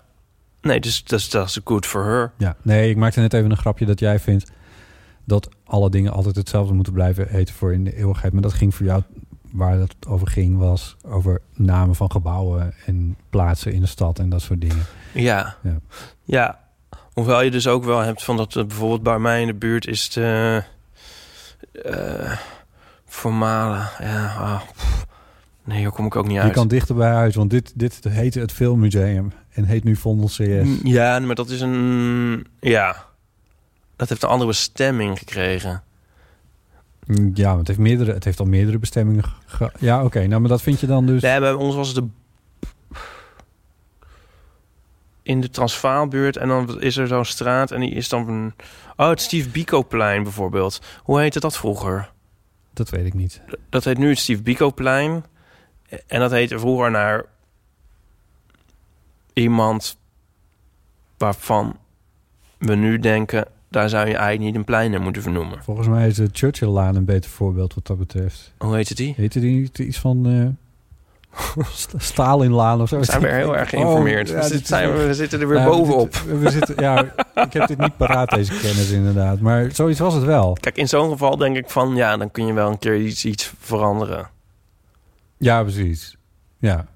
Speaker 4: Nee, dus dat is- dat is good for her.
Speaker 3: Ja, nee, ik maakte net even een grapje dat jij vindt dat alle dingen altijd hetzelfde moeten blijven heten voor in de eeuwigheid. Maar dat ging voor jou, waar het over ging, was over namen van gebouwen en plaatsen in de stad en dat soort dingen.
Speaker 4: Ja.
Speaker 3: Ja.
Speaker 4: ja. Hoewel je dus ook wel hebt van dat eh, bijvoorbeeld bij mij in de buurt is het eh eh, formale. Ja, ah, pff. nee, hier kom ik ook niet
Speaker 3: Je
Speaker 4: uit.
Speaker 3: kan dichter bij huis, want dit, dit heette het Filmmuseum en heet nu Vondel CS.
Speaker 4: Mm, Ja, maar dat is een. Ja. Dat heeft een andere stemming gekregen.
Speaker 3: Mm, Ja, want het heeft, meerdere, het heeft al meerdere bestemmingen ge- Ja, oké, nou maar dat vind je dan dus...
Speaker 4: Nee, bij ons was het de. In de Transvaalbuurt. En dan is er zo'n straat. En die is dan. Een... Oh, het Steve Biko-plein bijvoorbeeld. Hoe heette dat vroeger?
Speaker 3: Dat weet ik niet.
Speaker 4: Dat heet nu het Steve Biko-plein. En dat heette vroeger naar. iemand. waarvan we nu denken. daar zou je eigenlijk niet een plein naar moeten vernoemen.
Speaker 3: Volgens mij is de Churchill-laan een beter voorbeeld wat dat betreft.
Speaker 4: Hoe heette die?
Speaker 3: Heette die niet iets van eh, St- Stalinlaan of zo?
Speaker 4: We zijn weer heel erg geïnformeerd.
Speaker 3: Oh, ja,
Speaker 4: we,
Speaker 3: dit
Speaker 4: zitten,
Speaker 3: is
Speaker 4: zijn-
Speaker 3: wel-
Speaker 4: we zitten er weer
Speaker 3: Ja, we
Speaker 4: bovenop.
Speaker 3: zitten- we zitten, ja, ik heb dit niet paraat, deze kennis inderdaad. Maar zoiets was het wel.
Speaker 4: Kijk, in zo'n geval denk ik van... ja, dan kun je wel een keer iets, iets veranderen.
Speaker 3: Ja, precies. Ja.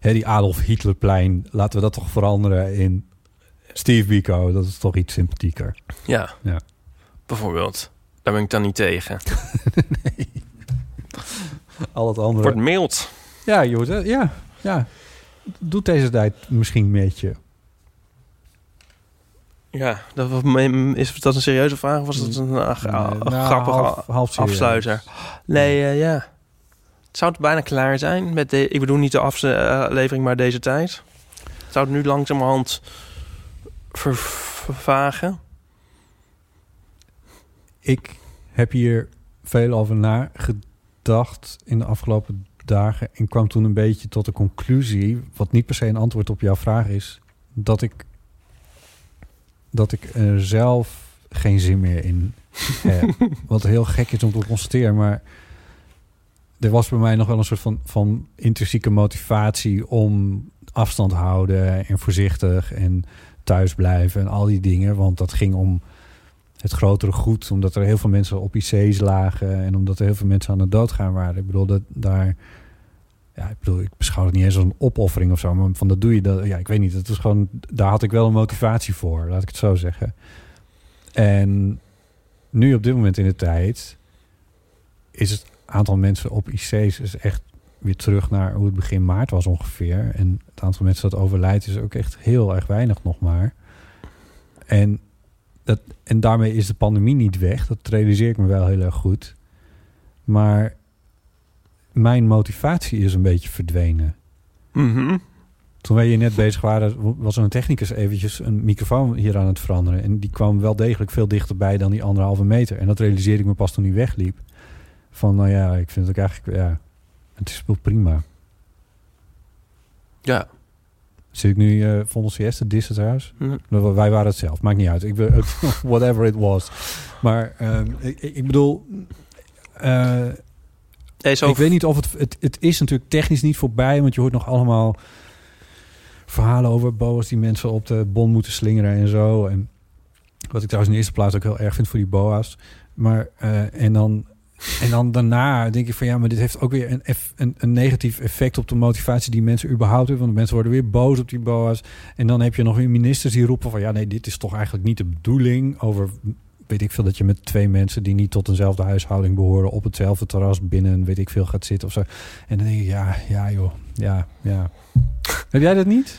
Speaker 3: Hè, die Adolf Hitlerplein, laten we dat toch veranderen in Steve Biko. Dat is toch iets sympathieker.
Speaker 4: Ja.
Speaker 3: Ja.
Speaker 4: Bijvoorbeeld. Daar ben ik dan niet tegen.
Speaker 3: Al het andere.
Speaker 4: Wordt mild.
Speaker 3: Ja, joh, dat- ja, ja. Doet deze tijd misschien met je.
Speaker 4: Ja, dat, was mijn- is dat een serieuze vraag? Of was dat een ah, ah,
Speaker 3: Nee, nou,
Speaker 4: grappige
Speaker 3: half- half serieus.
Speaker 4: afsluiter? Nee, eh, ja. Het zou het bijna klaar zijn. Met de, ik bedoel niet de aflevering, maar deze tijd. Zou het nu langzamerhand ver- vervagen?
Speaker 3: Ik heb hier veel over nagedacht in de afgelopen dagen. En kwam toen een beetje tot de conclusie, wat niet per se een antwoord op jouw vraag is, dat ik, dat ik er zelf geen zin meer in heb. wat heel gek is om te constateren, maar er was bij mij nog wel een soort van, van intrinsieke motivatie om afstand houden en voorzichtig en thuis blijven en al die dingen. Want dat ging om het grotere goed. Omdat er heel veel mensen op IC's lagen. En omdat er heel veel mensen aan het doodgaan waren. Ik bedoel, dat daar... Ja, ik bedoel, ik beschouw het niet eens als een opoffering of zo. Maar van dat doe je dat... Ja, ik weet niet. Dat is gewoon... Daar had ik wel een motivatie voor. Laat ik het zo zeggen. En nu op dit moment in de tijd... is het aantal mensen op IC's is echt weer terug naar hoe het begin maart was ongeveer. En het aantal mensen dat overlijdt is ook echt heel erg weinig nog maar. En dat, en daarmee is de pandemie niet weg. Dat realiseer ik me wel heel erg goed. Maar mijn motivatie is een beetje verdwenen.
Speaker 4: Mhm.
Speaker 3: Toen wij hier net bezig waren, was er een technicus eventjes een microfoon hier aan het veranderen. En die kwam wel degelijk veel dichterbij dan die anderhalve meter. En dat realiseerde ik me pas toen hij wegliep. Van, nou ja, ik vind het ook eigenlijk, ja, het is wel prima.
Speaker 4: Ja.
Speaker 3: Zit ik nu eh Vondel CS te dissen trouwens?
Speaker 4: Mhm.
Speaker 3: Nou, Wij waren het zelf, maakt niet uit. Ik wil, (laughs) whatever it was. Maar ehm, ik, ik bedoel, eh,
Speaker 4: Nee, zo
Speaker 3: ik weet niet of het, het... Het is natuurlijk technisch niet voorbij, want je hoort nog allemaal verhalen over boa's die mensen op de bon moeten slingeren en zo. En wat ik trouwens in de eerste plaats ook heel erg vind voor die boa's. Maar eh, en dan. En dan daarna denk ik van ja, maar dit heeft ook weer een, eff- een, een negatief effect op de motivatie die mensen überhaupt hebben. Want mensen worden weer boos op die boa's. En dan heb je nog weer ministers die roepen van ja, nee, dit is toch eigenlijk niet de bedoeling. Over weet ik veel dat je met twee mensen die niet tot eenzelfde huishouding behoren op hetzelfde terras binnen, weet ik veel, gaat zitten of zo. En dan denk ik ja, ja joh, ja, ja. Heb jij dat niet?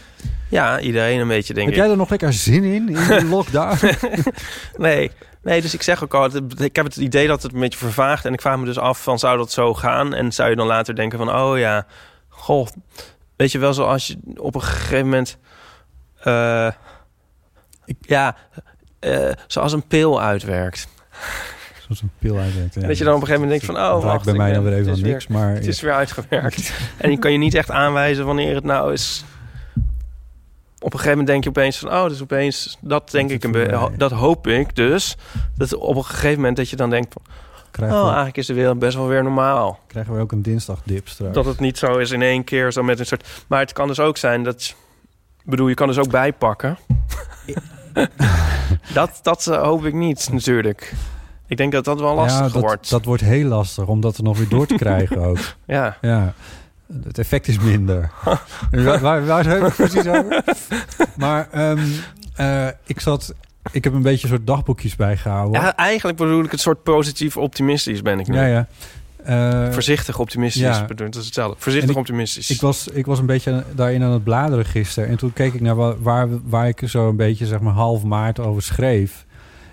Speaker 4: Ja, iedereen een beetje, denk
Speaker 3: Heb jij
Speaker 4: ik.
Speaker 3: er nog lekker zin in, in de
Speaker 4: (laughs)
Speaker 3: lockdown?
Speaker 4: Nee, nee, dus ik zeg ook al, het- ik heb het idee dat het een beetje vervaagt. En ik vraag me dus af, van, zou dat zo gaan? En zou je dan later denken van, oh ja, Goh, weet je wel, zoals je op een gegeven moment... eh, ja, eh, zoals een pil uitwerkt.
Speaker 3: Zoals een pil uitwerkt. ja.
Speaker 4: En dat je dan op een gegeven moment denkt van, oh,
Speaker 3: Het raakt
Speaker 4: wacht,
Speaker 3: bij
Speaker 4: ik
Speaker 3: mij
Speaker 4: ben-
Speaker 3: dan weer even
Speaker 4: het is
Speaker 3: aan niks, maar...
Speaker 4: Het is weer uitgewerkt. en je kan je niet echt aanwijzen wanneer het nou is. Op een gegeven moment denk je opeens van, oh, dus opeens, dat denk ik, een be- ho- dat hoop ik dus. Dat op een gegeven moment dat je dan denkt van,
Speaker 3: Krijgen
Speaker 4: oh,
Speaker 3: we-
Speaker 4: eigenlijk is de wereld best wel weer normaal.
Speaker 3: Krijgen we ook een dinsdagdip straks.
Speaker 4: Dat het niet zo is in één keer, zo met een soort... Maar het kan dus ook zijn dat, ik bedoel, je kan dus ook
Speaker 3: (laughs)
Speaker 4: bijpakken. dat, dat eh, hoop ik niet, natuurlijk. Ik denk dat dat wel lastig
Speaker 3: dat,
Speaker 4: wordt.
Speaker 3: dat wordt heel lastig om dat er nog weer door te krijgen
Speaker 4: (laughs)
Speaker 3: ook.
Speaker 4: Ja.
Speaker 3: ja. Het effect is minder. waar, waar, waar zijn we precies over? Maar ehm, eh, ik zat... Ik heb een beetje een soort dagboekjes bijgehouden.
Speaker 4: Ja, eigenlijk bedoel ik het soort positief optimistisch ben ik nu.
Speaker 3: ja. ja. Eh,
Speaker 4: Voorzichtig optimistisch,
Speaker 3: ja.
Speaker 4: bedoel, dat is hetzelfde. Voorzichtig
Speaker 3: En ik-
Speaker 4: optimistisch.
Speaker 3: Ik was, ik was een beetje daarin aan het bladeren gisteren. En toen keek ik naar wa- waar, waar ik zo een beetje zeg maar half maart over schreef.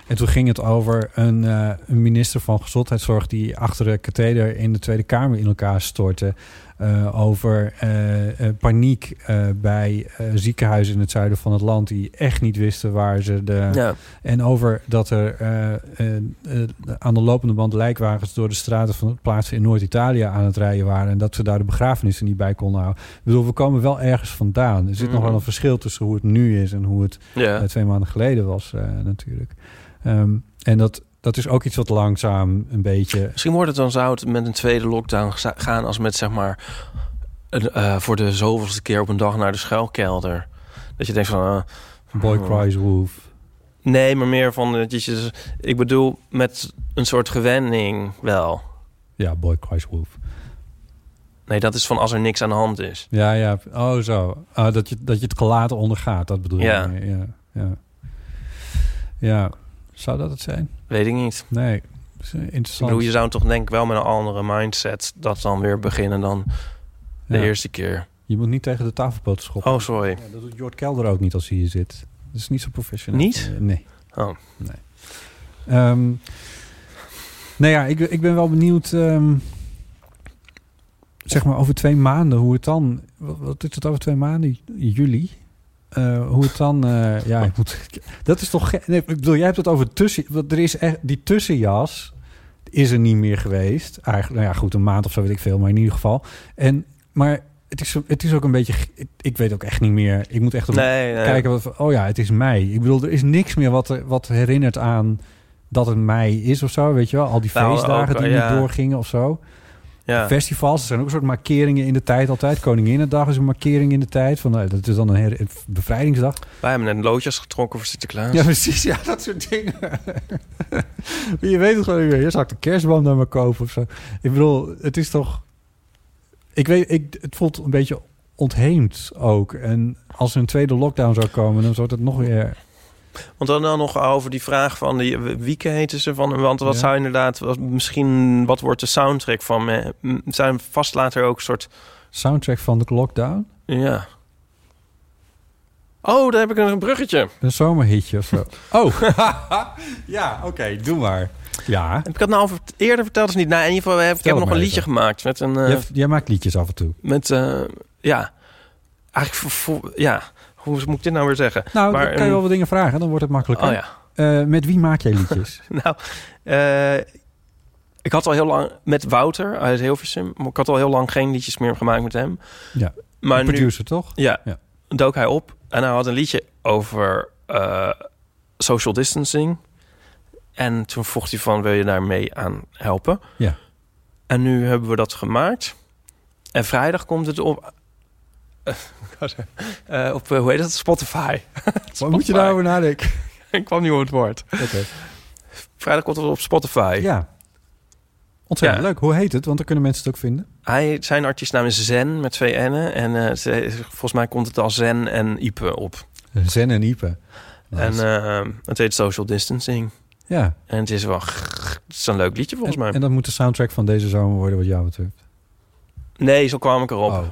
Speaker 3: En toen ging het over een, eh, een minister van Gezondheidszorg... die achter de katheder in de Tweede Kamer in elkaar stortte. eh, over eh, eh, paniek eh, bij eh, ziekenhuizen in het zuiden van het land... die echt niet wisten waar ze de...
Speaker 4: Ja.
Speaker 3: En over dat er eh, eh, eh, aan de lopende band lijkwagens door de straten van plaatsen in Noord-Italië aan het rijden waren. En dat ze daar de begrafenissen niet bij konden houden. Ik bedoel, we komen wel ergens vandaan. Er zit nog
Speaker 4: Mhm.
Speaker 3: wel een verschil tussen hoe het nu is en hoe het
Speaker 4: Ja.
Speaker 3: eh, twee maanden geleden was, eh, natuurlijk. Ehm, en dat, dat is ook iets wat langzaam een beetje.
Speaker 4: Misschien wordt het dan zou het met een tweede lockdown geza- gaan als met zeg maar een, eh, voor de zoveelste keer op een dag naar de schuilkelder. Dat je denkt van eh,
Speaker 3: Boy
Speaker 4: hmm.
Speaker 3: cries wolf.
Speaker 4: Nee, maar meer van dat je dus, ik bedoel met een soort gewenning wel.
Speaker 3: Ja, boy cries wolf.
Speaker 4: Nee, dat is van als er niks aan de hand is.
Speaker 3: Ja, ja. Oh, zo. Ah, dat, je, dat je het gelaten ondergaat, dat bedoel
Speaker 4: Ja.
Speaker 3: je. Ja, ja. ja. Zou dat het zijn?
Speaker 4: Weet ik niet.
Speaker 3: Nee, dat is eh,
Speaker 4: Ik
Speaker 3: interessant.
Speaker 4: bedoel, je zou toch denk ik wel met een andere mindset dat dan weer beginnen dan de
Speaker 3: Ja.
Speaker 4: eerste keer.
Speaker 3: Je moet niet tegen de tafelpoten schoppen.
Speaker 4: Oh, sorry.
Speaker 3: Ja, dat doet Jord Kelder ook niet als hij hier zit. Dat is niet zo professioneel.
Speaker 4: Niet?
Speaker 3: Eh, nee.
Speaker 4: Oh.
Speaker 3: Nee. Ehm, nou ja, ik, ik ben wel benieuwd... ehm, zeg maar over twee maanden, hoe het dan... Wat, wat is het over twee maanden? Juli? Eh, hoe het dan... eh, ja, ik moet, dat is toch... ge- Nee, ik bedoel, jij hebt het over tussen... want Er is echt, die tussenjas is er niet meer geweest. Eigenlijk, nou ja, goed, een maand of zo weet ik veel. Maar in ieder geval... En, maar het is, het is ook een beetje... ge- Ik, ik weet ook echt niet meer. Ik moet echt op-
Speaker 4: Nee, nee.
Speaker 3: kijken... Wat, oh ja, het is mei. Ik bedoel, er is niks meer wat, er- wat herinnert aan... dat het mei is of zo, weet je wel? Al die
Speaker 4: Nou,
Speaker 3: feestdagen
Speaker 4: ook,
Speaker 3: die
Speaker 4: ja.
Speaker 3: niet doorgingen of zo.
Speaker 4: Ja.
Speaker 3: Festivals, er zijn ook een soort markeringen in de tijd altijd. Koninginnedag is een markering in de tijd. Van, nou, dat is dan een her- een bevrijdingsdag.
Speaker 4: Wij hebben net loodjes getrokken voor Sinterklaas.
Speaker 3: Ja, precies. Ja, dat soort dingen. (laughs) Maar je weet het gewoon niet meer. Je zou ik de kerstboom dan maar kopen of zo. Ik bedoel, het is toch... Ik weet, ik, het voelt een beetje ontheemd ook. En als er een tweede lockdown zou komen, dan zou het nog weer...
Speaker 4: Want dan, dan nog over die vraag van die, wie heten ze van? Want wat
Speaker 3: Ja.
Speaker 4: zou inderdaad, wat, misschien wat wordt de soundtrack van? me- m- Zijn vast later ook een soort,
Speaker 3: Soundtrack van de lockdown?
Speaker 4: ja. Oh, daar heb ik een bruggetje.
Speaker 3: Een zomerhitje of zo? (laughs) oh! ja, oké, doe maar. Ja.
Speaker 4: Heb ik dat nou al vert- eerder verteld of niet? Nou, in ieder geval, we hebben- ik heb
Speaker 3: het
Speaker 4: nog
Speaker 3: maar
Speaker 4: een liedje
Speaker 3: even.
Speaker 4: gemaakt met een... eh,
Speaker 3: Jij, jij maakt liedjes af en toe.
Speaker 4: met, eh, ja, eigenlijk, voor, voor- ja, hoe moet ik dit nou weer zeggen?
Speaker 3: Nou,
Speaker 4: Maar
Speaker 3: dan kan je wel
Speaker 4: een-
Speaker 3: wat dingen vragen. Dan wordt het makkelijker.
Speaker 4: Oh ja. (laughs)
Speaker 3: Eh, met wie maak jij liedjes?
Speaker 4: Nou, eh, ik had al heel lang met Wouter uit Hilversum. maar Ik had al heel lang geen liedjes meer gemaakt met hem.
Speaker 3: ja.
Speaker 4: Maar
Speaker 3: Een
Speaker 4: nu-
Speaker 3: producer, toch?
Speaker 4: Ja,
Speaker 3: Ja.
Speaker 4: dook hij op en hij had een liedje over eh, social distancing. En toen vroeg hij van, wil je daar mee aan helpen?
Speaker 3: Ja.
Speaker 4: En nu hebben we dat gemaakt. En vrijdag komt het op...
Speaker 3: (laughs)
Speaker 4: eh, ik wou zeggen, eh, op, eh, hoe heet dat? Spotify.
Speaker 3: (laughs) Wat moet je nou- daarover nadenken?
Speaker 4: (laughs) ik kwam niet op het woord.
Speaker 3: (laughs) Oké.
Speaker 4: Vrijdag komt het op Spotify.
Speaker 3: Ja. Ontzettend
Speaker 4: Ja.
Speaker 3: leuk. Hoe heet het? Want dan kunnen mensen het ook vinden.
Speaker 4: Hij, zijn artiestnaam is Zen met twee N'en. En eh, ze- volgens mij komt het als Zen en Ipe op.
Speaker 3: Zen en Ipe.
Speaker 4: En eh, het heet Social Distancing.
Speaker 3: ja.
Speaker 4: En het is wel grrr, het is een leuk liedje volgens
Speaker 3: en,
Speaker 4: mij.
Speaker 3: En dat moet de soundtrack van deze zomer worden wat jou betreft.
Speaker 4: Nee, zo kwam ik erop.
Speaker 3: Oh.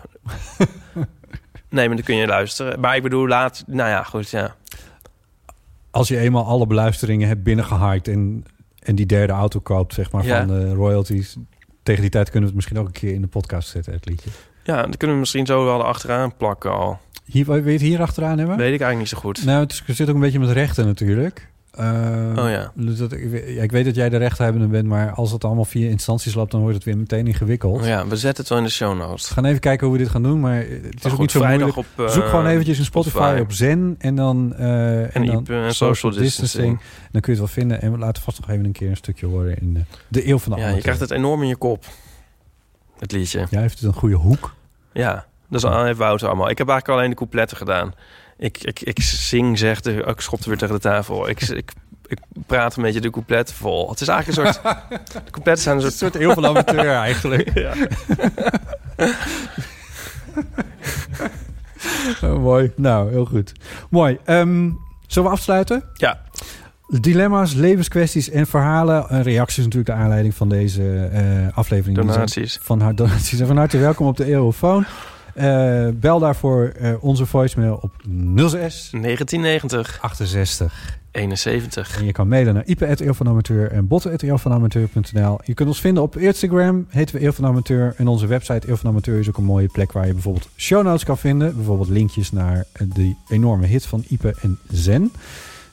Speaker 4: Nee, maar dan kun je luisteren. Maar ik bedoel, laat... Nou ja, goed, ja.
Speaker 3: Als je eenmaal alle beluisteringen hebt binnengehaakt en, en die derde auto koopt, zeg maar, eh,
Speaker 4: Ja.
Speaker 3: van de royalties. Tegen die tijd kunnen we het misschien ook een keer in de podcast zetten, het liedje.
Speaker 4: Ja, dan kunnen we misschien zo wel achteraan plakken al.
Speaker 3: Hier, wil je het hier achteraan hebben?
Speaker 4: Weet ik eigenlijk niet zo goed.
Speaker 3: Nou, het is- het zit ook een beetje met rechten natuurlijk. Eh,
Speaker 4: Oh ja.
Speaker 3: dus dat, ik, weet- ja, ik weet dat jij de rechthebbende bent, maar als het allemaal via instanties loopt, dan wordt het weer meteen ingewikkeld.
Speaker 4: Ja, we zetten het wel in de show notes.
Speaker 3: We gaan even kijken hoe we dit gaan doen, maar eh, het is
Speaker 4: Maar
Speaker 3: ook
Speaker 4: goed,
Speaker 3: niet zo
Speaker 4: vrijdag
Speaker 3: moeilijk.
Speaker 4: op, eh,
Speaker 3: Zoek gewoon eventjes in Spotify,
Speaker 4: Spotify.
Speaker 3: op Zen en dan, eh,
Speaker 4: En IP en social distancing.
Speaker 3: Dan kun je het wel vinden en we laten vast nog even een keer een stukje horen in eh, de eeuw van de
Speaker 4: Ja, je
Speaker 3: amateur.
Speaker 4: krijgt het enorm in je kop. Het liedje.
Speaker 3: Jij heeft het een goede hoek.
Speaker 4: Ja, dat is aan heeft Wouter allemaal. Ik heb eigenlijk alleen de coupletten gedaan. Ik, ik, ik zing, zeg, de, ik schopte weer tegen de tafel. Ik, ik, ik praat een beetje de coupletten vol. Het is eigenlijk
Speaker 3: (laughs)
Speaker 4: een soort... De coupletten zijn een soort...
Speaker 3: Een soort eeuw van de amateur (laughs) eigenlijk.
Speaker 4: Ja.
Speaker 3: Oh, mooi. Nou, heel goed. Mooi. Ehm, zullen we afsluiten?
Speaker 4: Ja.
Speaker 3: Dilemma's, levenskwesties en verhalen. Een reactie is natuurlijk de aanleiding van deze eh, aflevering. Die zijn
Speaker 4: Donaties.
Speaker 3: Van haar donaties. En van harte (laughs) welkom op de Eurofoon. Eh, bel daarvoor eh, onze voicemail op 06
Speaker 4: 1990,
Speaker 3: 68.
Speaker 4: 71.
Speaker 3: En je kan mailen naar ipe.eeuwvanamateur en botten.eeuwvanamateur.nl. Je kunt ons vinden op Instagram, heten we Eeuw van Amateur. En onze website Eeuw van Amateur is ook een mooie plek waar je bijvoorbeeld show notes kan vinden. Bijvoorbeeld linkjes naar de enorme hit van Ipe en Zen.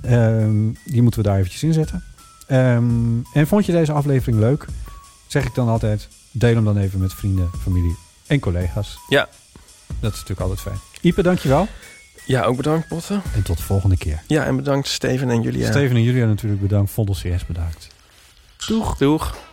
Speaker 3: Ehm, die moeten we daar eventjes in zetten. Ehm, en vond je deze aflevering leuk? Zeg ik dan altijd, deel hem dan even met vrienden, familie en collega's.
Speaker 4: Ja.
Speaker 3: Dat is natuurlijk altijd fijn. Ipe, dankjewel.
Speaker 4: Ja, ook bedankt, Potten.
Speaker 3: En tot de volgende keer.
Speaker 4: Ja, en bedankt Steven en Julia.
Speaker 3: Steven en Julia natuurlijk bedankt. Vondel CS bedankt.
Speaker 4: Doeg. Doeg.